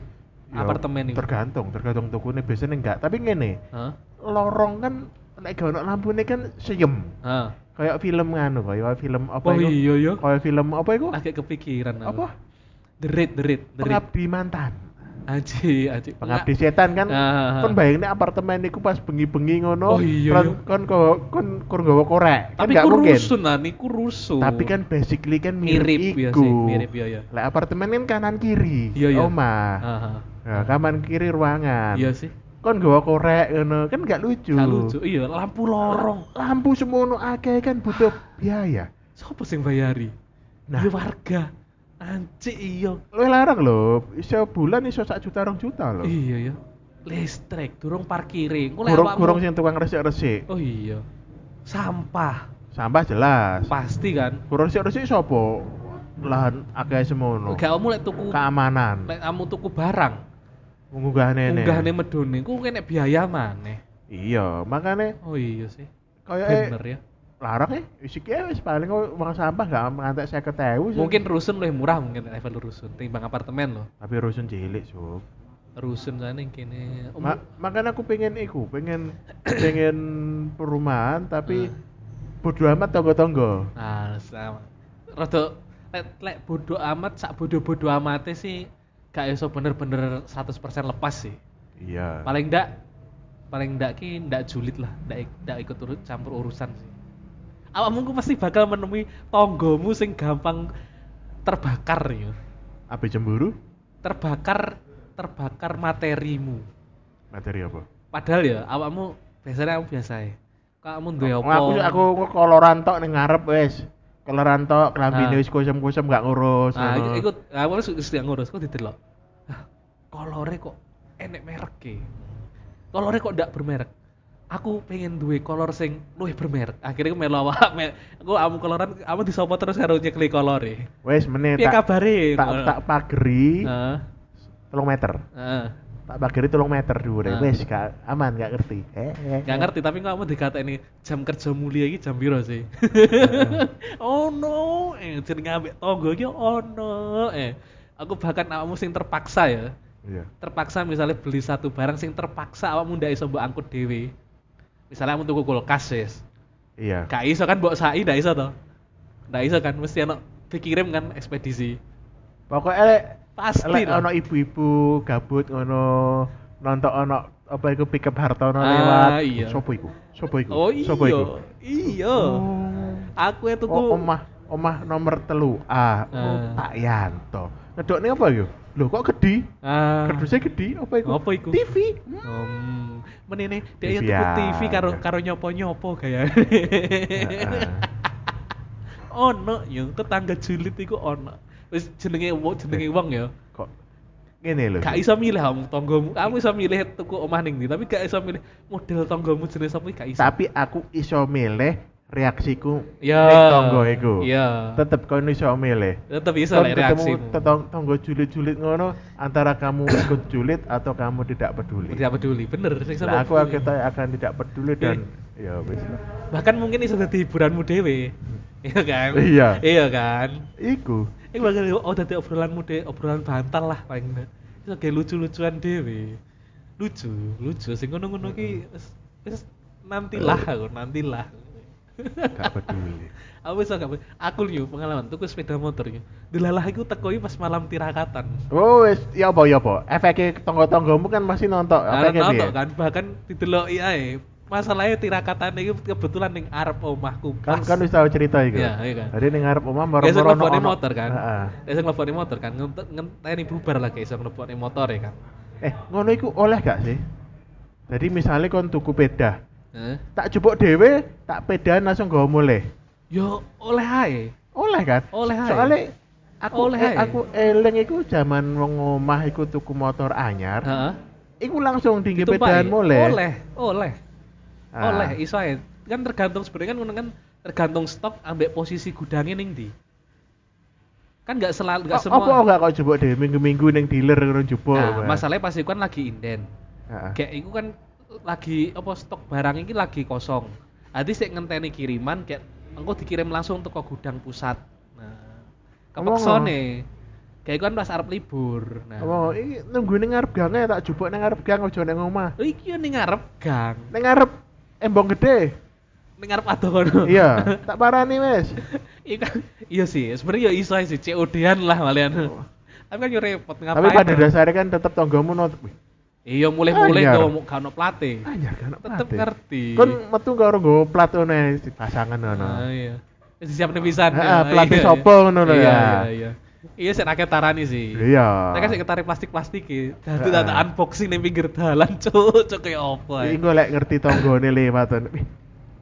B: Ya,
A: apartemen itu.
B: Tergantung, tergantung tokone biasanya enggak. Tapi ngene,
A: Hah?
B: lorong kan nek gak ono lampune kan seyem.
A: Hah.
B: Kayak film nganu, kayak film apa
A: Oh
B: iku?
A: iya ya.
B: Kayak film apa iku?
A: Agak kepikiran aku.
B: Apa?
A: Derit, derit, derit.
B: Pengabdi mantan.
A: Aji, aji.
B: pengabdi setan kan
A: Ah.
B: kon bayangin apartemen iku pas bengi-bengi
A: Oh,
B: ngono
A: iya,
B: kon
A: iya.
B: kon kon- kon kon nggawa korek kan
A: Tapi
B: nggak
A: ku
B: mungkin
A: rusun lah, niku rusun.
B: tapi kan basically kan mirip,
A: Mirip, iya
B: iku
A: sih, mirip, iya, iya.
B: lah apartemen kan kanan kiri
A: Iya, iya.
B: omah
A: Aha.
B: Nah, kanan kiri ruangan
A: Iya sih.
B: kon nggawa korek ngono kan nggak Kan. lucu
A: Gak lucu. Iya, lampu lorong.
B: lampu semono akeh kan butuh biaya
A: Sopo sing bayari?
B: Nah.
A: Ya warga. Anci iya.
B: lu larang lho iso bulan iso sak juta rong juta lho
A: Iya ya. Listrik, durung parkire. Engko lek
B: kurung
A: awakmu-
B: kurung sing tukang resik-resik
A: Oh iya. Sampah.
B: sampah jelas
A: Pasti kan.
B: kurang sih resik sopo lahan akeh semono
A: Gak kamu lek tuku
B: keamanan
A: lek kamu tuku barang,
B: mengunggah nene
A: unggahne medone ku kene biaya maneh.
B: iya makanya
A: Oh iya sih.
B: kayak
A: Bener ya.
B: larang ya isi ya wis paling kok uang sampah gak ngantek saya ketewu
A: Mungkin rusun lebih murah mungkin level rusun timbang apartemen loh.
B: tapi rusun cilik sob
A: Rusun sana yang kene. Oh,
B: Ma- makanya aku pengen iku pengen pengen perumahan tapi
A: Ah.
B: bodo amat tonggo-tonggo
A: Nah, sama. Rada lek lek bodo amat sak bodo-bodo amate sih gak iso bener-bener 100% lepas sih.
B: iya
A: Paling ndak paling ndak ki ndak julid lah, ndak ik- ndak ikut urut campur urusan sih. Awakmu ku pasti bakal menemui tonggomu sing gampang terbakar ya.
B: apa cemburu
A: Terbakar terbakar materimu.
B: materi apa
A: Padahal ya awakmu biasanya kamu biasa ya. Kamu duwe apa?
B: aku aku koloran tok ning ngarep wis koloran tok klambine
A: Ah.
B: wis kusem-kusem gak ngurus
A: Nah,
B: ngono.
A: ikut aku harus sudah ngurus kok didelok. Ah, kolore kok enek mereke. Kolore kok ndak bermerek. Aku pengen duwe kolor sing luwih bermerek. Akhirnya aku melu awak, me- aku amu koloran, amu disopo terus karo nyekli kolore.
B: Wes meneh
A: Piye
B: tak
A: kabare?
B: tak tak pageri
A: Heeh.
B: 3 meter.
A: Heeh.
B: Tak pageri 3 meter dhuwure.
A: Ah.
B: Wes gak aman gak ngerti. Eh, eh,
A: Gak
B: eh.
A: ngerti tapi kok kamu dikatain jam kerja mulia iki jam piro sih? oh no, eh jenenge ambek tonggo iki oh no. Eh, aku bahkan awakmu sing terpaksa ya.
B: Iya.
A: terpaksa misalnya beli satu barang sing terpaksa awakmu ndak iso mbok angkut dhewe. Misalnya kamu tuku kulkas wis.
B: Iya.
A: Gak iso kan mbok sai ndak iso to. Ndak iso kan mesti ono dikirim kan ekspedisi.
B: Pokoke lek
A: Pasti
B: lek
A: lah.
B: ono ibu-ibu gabut ngono nonton ono apa iku pick up
A: Ah,
B: Hartono lewat.
A: iya.
B: Sopo iku? Sopo iku?
A: Oh
B: Sopo
A: iya.
B: iku?
A: Iya.
B: Oh.
A: Aku ya tuku
B: Oh, omah omah nomor telu A.
A: Ah.
B: Oh, Pak Yanto. Ngedokne apa yo? Lho kok gede?
A: Ah.
B: Kerdusnya gede apa iku?
A: Apa iku?
B: TV.
A: Hmm. Menene dia ya
B: TV
A: tuku TV karo
B: aja.
A: karo nyopo-nyopo gaya.
B: Heeh.
A: ono yo tetangga julid iku ono. Wis jenenge wong jenenge wong ya.
B: Kok ngene lho.
A: gak iso milih kamu tonggomu kamu iso milih tuku omah ning ndi tapi gak iso milih model tonggomu jenis apa gak iso
B: tapi aku iso milih reaksiku
A: Ya.
B: ning tonggo iku
A: Ya.
B: tetep kau iso milih
A: tetep iso
B: Kon
A: lek reaksimu
B: tetong, tonggo julid-julid ngono antara kamu ikut julid atau kamu tidak peduli
A: tidak peduli Iya. bener sing sama
B: Lah, aku
A: peduli.
B: akhirnya akan tidak peduli dan ya wis lah.
A: bahkan mungkin iso dadi hiburanmu dhewe iya kan
B: Iya.
A: iya kan
B: iku
A: ini bakal oh dadi obrolanmu dhewe obrolan bantal lah paling nggak. iso kayak lucu-lucuan dhewe lucu lucu sing ngono-ngono ki wis- wis nantilah aku nantilah
B: Gak peduli.
A: aku wis gak pe- aku yo pengalaman tuku sepeda motor yo delalah iku teko iki pas malam tirakatan
B: Oh wis, ya apa ya apa? Efeknya tonggo-tonggomu kan masih nonton.
A: Arep
B: Efeknya
A: nonton
B: piye?
A: kan bahkan dideloki ae masalahnya tirakatan iki kebetulan ning arep omahku pas.
B: Kan kan wis tahu cerita iku.
A: Iya, iya kan.
B: Jadi ning ngarep omah
A: Biasa
B: moro-moro
A: ngelopokne motor kan.
B: Heeh.
A: Biasa ngelopokne motor kan. Ngent- Ngenteni bubar lah kayak iso ngelopokne motor ya kan.
B: Eh, ngono iku oleh gak sih? Jadi misalnya kon tuku peda,
A: Heeh.
B: tak jebok dhewe, tak pedaan langsung nggawa mulai.
A: Yo oleh ae.
B: Oleh kan?
A: Oleh ae.
B: Soale aku
A: Oleh
B: eh,
A: ae.
B: aku eling iku jaman wong omah iku tuku motor anyar.
A: Heeh.
B: Iku langsung tinggi
A: Ditumpaki.
B: pedaan mulai.
A: Oleh, oleh.
B: Ah.
A: Oleh iso ae. Kan tergantung sebenarnya kan ngono kan tergantung stok ambek posisi gudangnya ning ndi. Kan nggak selalu nggak semua.
B: Apa enggak kok jebok dhewe minggu-minggu ning dealer ngono jebok.
A: Nah,
B: Pak?
A: masalahnya pasti kan lagi inden.
B: Heeh.
A: Kayak iku kan lagi apa stok barang ini lagi kosong. Nanti sik ngenteni kiriman kayak engko dikirim langsung teko gudang pusat. Nah, kepeksa
B: Ngomong,
A: nih. Kayak iku kan pas arep libur. Nah,
B: Oh, iki nunggu ning ngarep gange tak jebok ning ngarep gang aja ning omah.
A: lho iki yo ning ngarep gang,
B: Ning ngarep embong gede.
A: ning ngarep adoh kono.
B: Iya, tak parani wes.
A: Iya kan, iya sih, sebenarnya ya iso aja sih COD-an lah kalian. Tapi kan yo repot ngapain.
B: Tapi pada
A: ya?
B: dasarnya kan tetap tonggomu not. Wih,
A: Iya mulai-mulai
B: Anyar.
A: yo mau kano plate.
B: Anyar kan
A: Tetep ngerti.
B: Kon Kan metu karo nggo plat ngono ya, si pasangan ngono.
A: Ah, iya. Wis disiapne pisan. ya.
B: Ah, pelatih
A: Iya,
B: sopo
A: iya.
B: ngono lho
A: Iya,
B: ya.
A: Iya, iya. Iya sik akeh tarani sih.
B: Iya.
A: Nek sik ketarik plastik-plastik iki, dadi
B: Ah.
A: tak tak unboxing ning pinggir dalan, cuk, cuk kaya apa. ya.
B: Iki engko lek ngerti tonggone lewat ngono. Wih,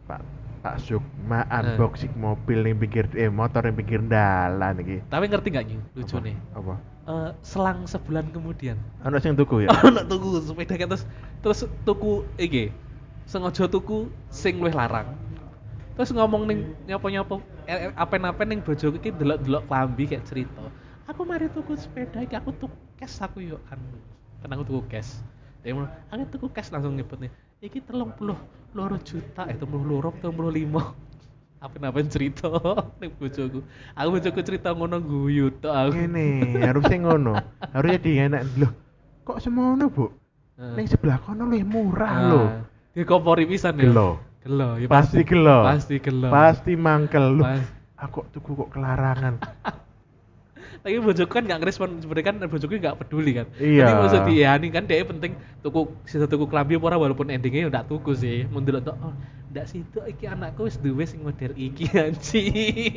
B: Pak Pak Sukma
A: Eh.
B: unboxing mobil ning pinggir eh motor ning pinggir dalan iki.
A: Tapi ngerti gak Nyu, lucu
B: Apa?
A: nih.
B: Apa?
A: Eh, selang sebulan kemudian.
B: Ono sing tuku ya.
A: Ono tuku sepeda kan terus terus tuku E iki. Sengaja tuku sing luwih larang. Terus ngomong ning nyopo-nyopo eh, eh, apen-apen ning bojoku iki delok-delok klambi kayak cerita. Aku mari tuku sepeda iki aku tuku cash aku yo anu. Kan aku tuku cash. Dia ngomong, aku tuku cash langsung nyebut nih. Iki telung puluh loro juta, eh telung puluh loro, telung puluh lima. Apen-apen cerita ning bojoku. Aku bojoku cerita ngono guyu tok aku.
B: Ngene, harusnya ngono. Harusnya dienak lho. Kok semono, Bu?
A: Heeh.
B: Ning sebelah kono lebih murah
A: Eh. Ah,
B: lho.
A: Dikopori pisan ya.
B: Gelo.
A: Gelo, ya
B: Pasti gelo.
A: Pasti gelo.
B: Pasti mangkel lho.
A: Pas-
B: Aku tuku kok kelarangan.
A: Tapi bojoku kan nggak ngerespon sebenarnya kan bojoku nggak peduli kan.
B: Iya.
A: Tapi maksud dia ini kan dia penting tuku sisa tuku klambi apa ora walaupun endingnya udah tuku sih. Mundur tuh oh ndak situ iki anakku wis duwe sing model iki anci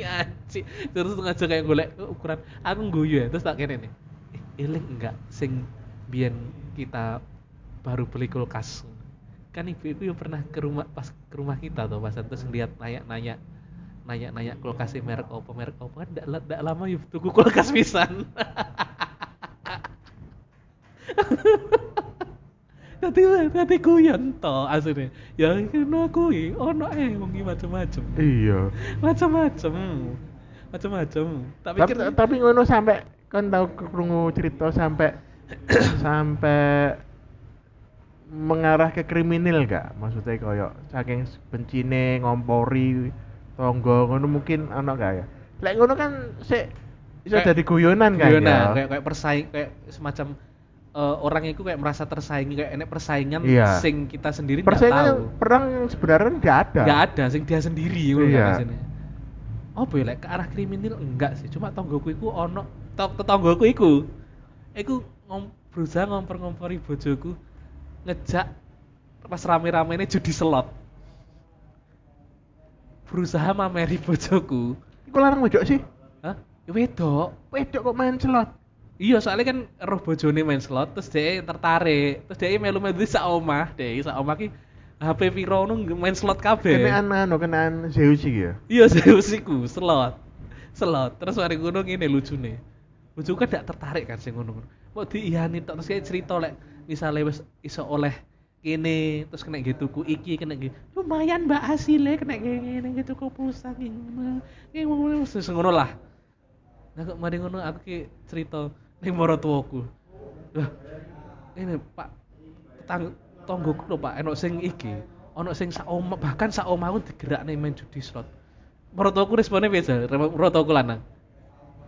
A: anci terus ngajak kayak golek ukuran aku ngguyu ya terus tak kene nih eh, eling enggak sing biyen kita baru beli kulkas kan ibu ibu yang pernah ke rumah pas ke rumah kita tuh pas terus ngeliat nanya nanya nanya nanya kulkas merek apa merek apa kan ndak la- ndak lama yuk tuku kulkas pisan nanti nanti guyon to aslinya ya kena kui ono eh wong iki macem-macem
B: iya.
A: macem-macem macem-macem tak
B: Tapi,
A: pikir
B: tapi, ngono sampai kan tahu kekrungu cerita sampai sampai mengarah ke kriminal gak? Maksudnya koyo saking bencine ngompori tonggo ngono mungkin ana gak ya? Lek ngono kan sik iso
A: Kayak-
B: jadi guyonan kan
A: Guyonan,
B: ya.
A: Iya, nah, kayak kayak persaing kayak semacam eh, orang itu kayak merasa tersaingi kayak enek persaingan
B: Iya.
A: sing kita sendiri nggak tahu
B: Persaingan perang yang sebenarnya nggak ada.
A: nggak ada sing dia sendiri ngono
B: Iya.
A: kan rasanya. apa ya lek ke arah kriminal enggak sih cuma tonggoku iku ono to- tetanggoku iku iku ngom, berusaha ngomper-ngompori bojoku ngejak pas rame-rame ini judi slot berusaha mameri bojoku
B: Iku larang wedok sih.
A: hah Ya wedok
B: Wedok kok main celot.
A: Iya, soalnya kan roh bojone main slot terus dia tertarik. Terus dia melu-melu sak omah, dia sak omah ki HP piro nu nge- main slot kabeh.
B: Kenaan anu kenaan Zeus iki ya.
A: Iya, Zeus iku slot. Slot. Terus mari ngono ngene lucune. Lucu kan gak tertarik kan sing ngono. Mau diiyani tok terus kayak cerita lek misalnya wis iso oleh kene terus kena gitu tuku iki kena gitu lumayan mbak hasilnya kena gini gini gitu kok pulsa gini gini gini ngono lah Nah kok mari ngono aku ki cerita ning moro tuaku. Lah, ini Pak tang tonggoku lho Pak, enak sing iki. Ono sing sak omah, bahkan sak omahku digerakne main judi slot. Moro tuaku responnya biasa, moro tuaku lanang.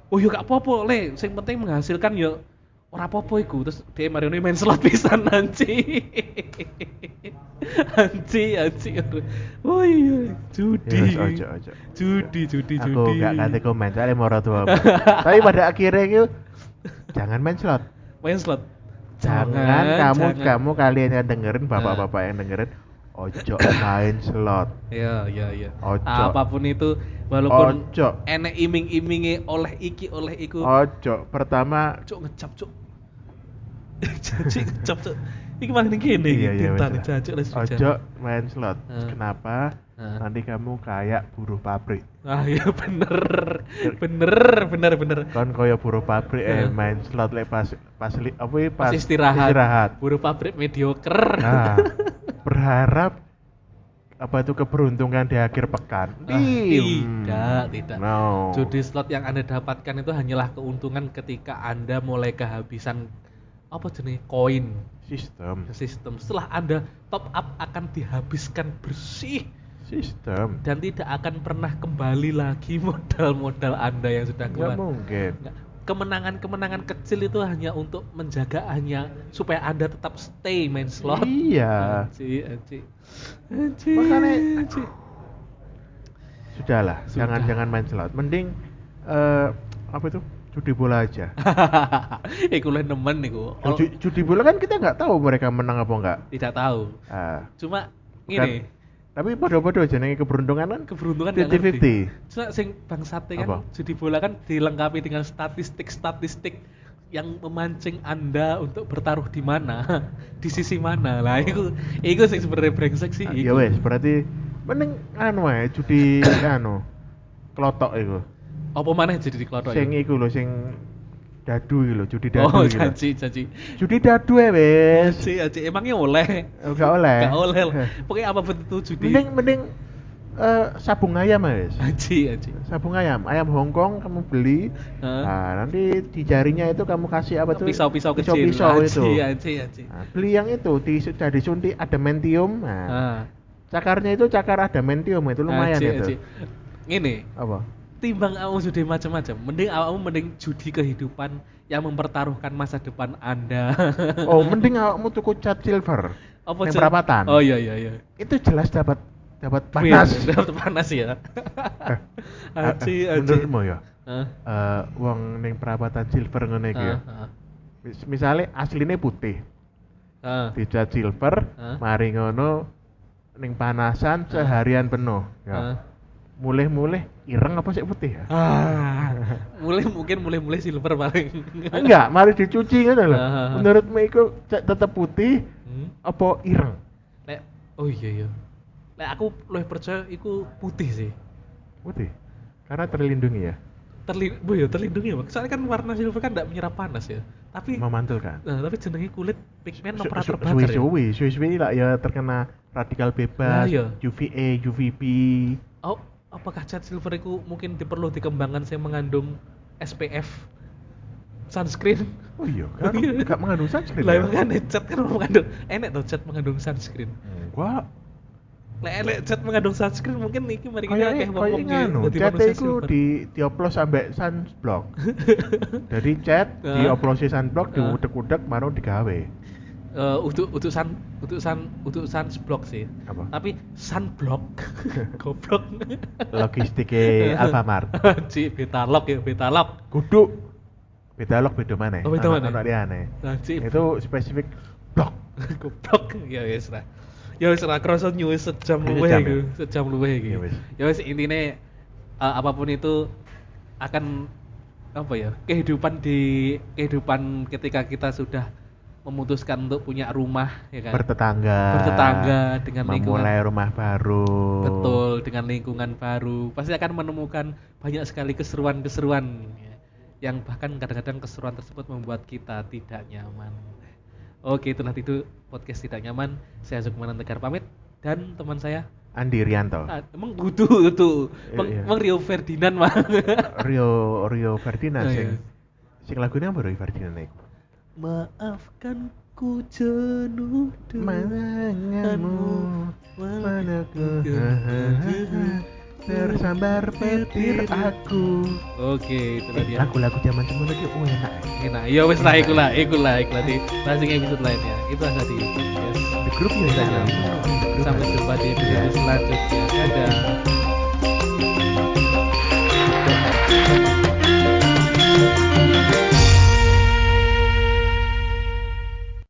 A: Oh yo gak apa-apa, Le, sing penting menghasilkan yo ora apa-apa iku terus dia mari ini main slot pisan anji anji anji oh iya
B: Ya,
A: judi
B: wes, ojo, ojo.
A: judi judi judi
B: Aku gak kate komen soalnya moro tua. Tapi pada akhirnya itu jangan main slot.
A: main slot
B: Jangan, kamu kamu kalian yang dengerin bapak-bapak yang dengerin ojo main slot.
A: Ya, ya, ya.
B: Ojo.
A: Apapun itu, walaupun
B: Ojo.
A: enek iming-imingi oleh iki oleh iku,
B: Ojo pertama
A: cuk ngecap cuk. Jancuk ngecap cuk. Iki malah ning kene iki
B: iya, iya,
A: tintane
B: wes.
A: jancuk les hujan.
B: Ojo main slot.
A: Heeh.
B: Kenapa?
A: Heeh.
B: Nanti kamu kayak buruh pabrik.
A: Ah iya bener. Bener, bener, bener.
B: Kon kaya buruh pabrik eh
A: Heeh.
B: main slot lek pas pas li- apa iki,
A: Pas istirahat.
B: istirahat.
A: Buruh pabrik mediocre.
B: Nah, berharap apa itu keberuntungan di akhir pekan? Iya.
A: Ah, tidak, tidak.
B: No.
A: Judi slot yang Anda dapatkan itu hanyalah keuntungan ketika Anda mulai kehabisan apa jenis koin
B: sistem,
A: sistem. Setelah Anda top up akan dihabiskan bersih
B: sistem.
A: dan tidak akan pernah kembali lagi modal-modal Anda yang sudah
B: Nggak
A: keluar.
B: mungkin.
A: Nggak. Kemenangan-kemenangan kecil itu hanya untuk menjaga hanya supaya Anda tetap stay main slot.
B: Iya.
A: Anci, anci. Anci,
B: Makanya-
A: anci.
B: Sudahlah,
A: Sudah.
B: jangan-jangan main slot. Mending eh apa itu? Judi bola aja.
A: Iku lah Eh, nemen iku. Ol-
B: Judi, judi bola kan kita nggak tahu mereka menang apa enggak.
A: Tidak tahu.
B: Ah,
A: Cuma
B: bukan-
A: ini
B: Tapi bodoh-bodoh jenenge keberuntungan kan
A: keberuntungan nggak ngerti.
B: 50-50.
A: Cuma sing bangsate
B: Apa?
A: kan judi bola kan dilengkapi dengan statistik-statistik yang memancing Anda untuk bertaruh di mana, di sisi mana. Lah iku iku sing sebenarnya brengsek sih.
B: Oh. Ah,
A: iku.
B: Ya wes, berarti mending anu ae judi anu klotok itu.
A: Apa maneh jadi dikelotok?
B: Sing gitu.
A: ya?
B: iku lho sing dadu iki lho, judi dadu
A: Oh,
B: iki lho.
A: janji, janji.
B: Judi dadu e, ae wes.
A: Janji, janji. Emangnya oleh?
B: Enggak oleh.
A: Gak oleh. lah. Pokoknya apa bentuk judi?
B: Eh. Mending mending eh, sabung ayam ae wes.
A: Janji, janji.
B: Sabung ayam, ayam Hongkong kamu beli.
A: Heeh.
B: Nah, nanti di jarinya itu kamu kasih apa tuh?
A: Pisau-pisau kecil.
B: Pisau-pisau
A: Janji,
B: itu.
A: janji, janji.
B: Nah, beli yang itu di sudah disuntik adamantium. Nah,
A: Ah.
B: cakarnya itu cakar adamantium itu lumayan
A: Janji,
B: itu.
A: janji. Ngene,
B: Apa?
A: timbang awakmu judi macam-macam mending awakmu mending judi kehidupan yang mempertaruhkan masa depan anda
B: Oh, mending awakmu tuku cat silver. yang
A: Cel?
B: perapatan.
A: oh iya iya iya
B: Itu jelas dapat dapat panas.
A: Wih, dapat panas ya
B: Eh,
A: aci aci
B: eh, Menurutmu ya? Eh, wong ning perapatan silver ngene iki
A: Ah,
B: ya. Mis- Misale asline putih, dicat silver,
A: Ah.
B: mari ngono ning panasan seharian penuh
A: Ah.
B: ya. Mulih-mulih ireng apa sih putih ya?
A: Ah. mulai mungkin mulai mulai silver paling
B: Eh, Enggak, mari dicuci ngono lho.
A: Ah, ah, ah.
B: Menurutmu iku cek tetep putih
A: Hmm?
B: apa ireng?
A: Lek, oh iya iya Lek aku lebih percaya iku putih sih
B: Putih. Karena terlindungi ya,
A: Terli bu ya terlindungi ya Bang. soalnya kan warna silver kan tidak menyerap panas ya tapi
B: memantulkan.
A: Nah, tapi jenenge kulit pigmen
B: Su-
A: apa
B: su-
A: terbakar
B: suwi-
A: ya?
B: suwi suwi suwi lah ya terkena radikal bebas
A: Lah, iya.
B: UVA UVB
A: Oh, apakah cat silver itu mungkin diperlu dikembangkan yang mengandung SPF sunscreen?
B: oh iya kan
A: Iya.
B: gak mengandung sunscreen ya?
A: Lah emang kan cat kan mengandung enek tuh cat mengandung sunscreen.
B: gua
A: Lah enek cat mengandung sunscreen mungkin iki mari kita
B: kayak
A: akeh
B: kayak
A: wong-wong di-
B: nganu
A: dadi
B: cat
A: manusia
B: itu
A: silver.
B: di dioplos sampai sunblock jadi cat
A: Ah.
B: dioplosi sunblock
A: Ah.
B: diudek-udek baru digawe
A: Eh, untuk untuk sun untuk sun untuk sunblock sih.
B: Apa?
A: Tapi sunblock goblok.
B: logistiknya Eh,
A: Ah.
B: Alfamart
A: Ci betalok ya betalok.
B: kudu beda log beda mana
A: Oh, beda maneh.
B: Anak- anak liane.
A: Nah, Ci
B: itu spesifik blok
A: goblok ya wis lah ya wis lah kerasa nyuwe sejam
B: Sejam
A: luwih
B: ya?
A: iku sejam luwih iki
B: Ya wis.
A: ya wis intine eh, apapun itu akan apa ya kehidupan di kehidupan ketika kita sudah memutuskan untuk punya rumah ya kan
B: bertetangga
A: Bertetangga dengan lingkungan.
B: memulai rumah baru
A: betul dengan lingkungan baru pasti akan menemukan banyak sekali keseruan-keseruan ya, yang bahkan kadang-kadang keseruan tersebut membuat kita tidak nyaman oke itulah itu podcast tidak nyaman saya Sukmanan Tegar pamit dan teman saya
B: Andi Rianto
A: ah, emang butuh itu
B: Oh. Iya,
A: emang,
B: iya.
A: emang Rio Ferdinand mah
B: Rio Rio
A: Oh,
B: Ferdinand
A: iya.
B: sing sing lagunya apa Rio Ferdinand iku?
A: maafkan ku jenuh denganmu,
B: Menanganmu,
A: walau
B: padaku.
A: ku jenuh
B: tersambar petir aku
A: Oke, itulah dia.
B: lagu-lagu zaman dulu lagi oh enak
A: Enak. Ya wis lah iku lah, iku lah, iku lah di passing episode lainnya. Itu aja di podcast.
B: di grup ya
A: Kita
B: enak.
A: nyambung.
B: Di
A: Iya,
B: grup ya. Iya.
A: Sampai
B: enak.
A: jumpa di
B: Iya.
A: episode selanjutnya. Dadah.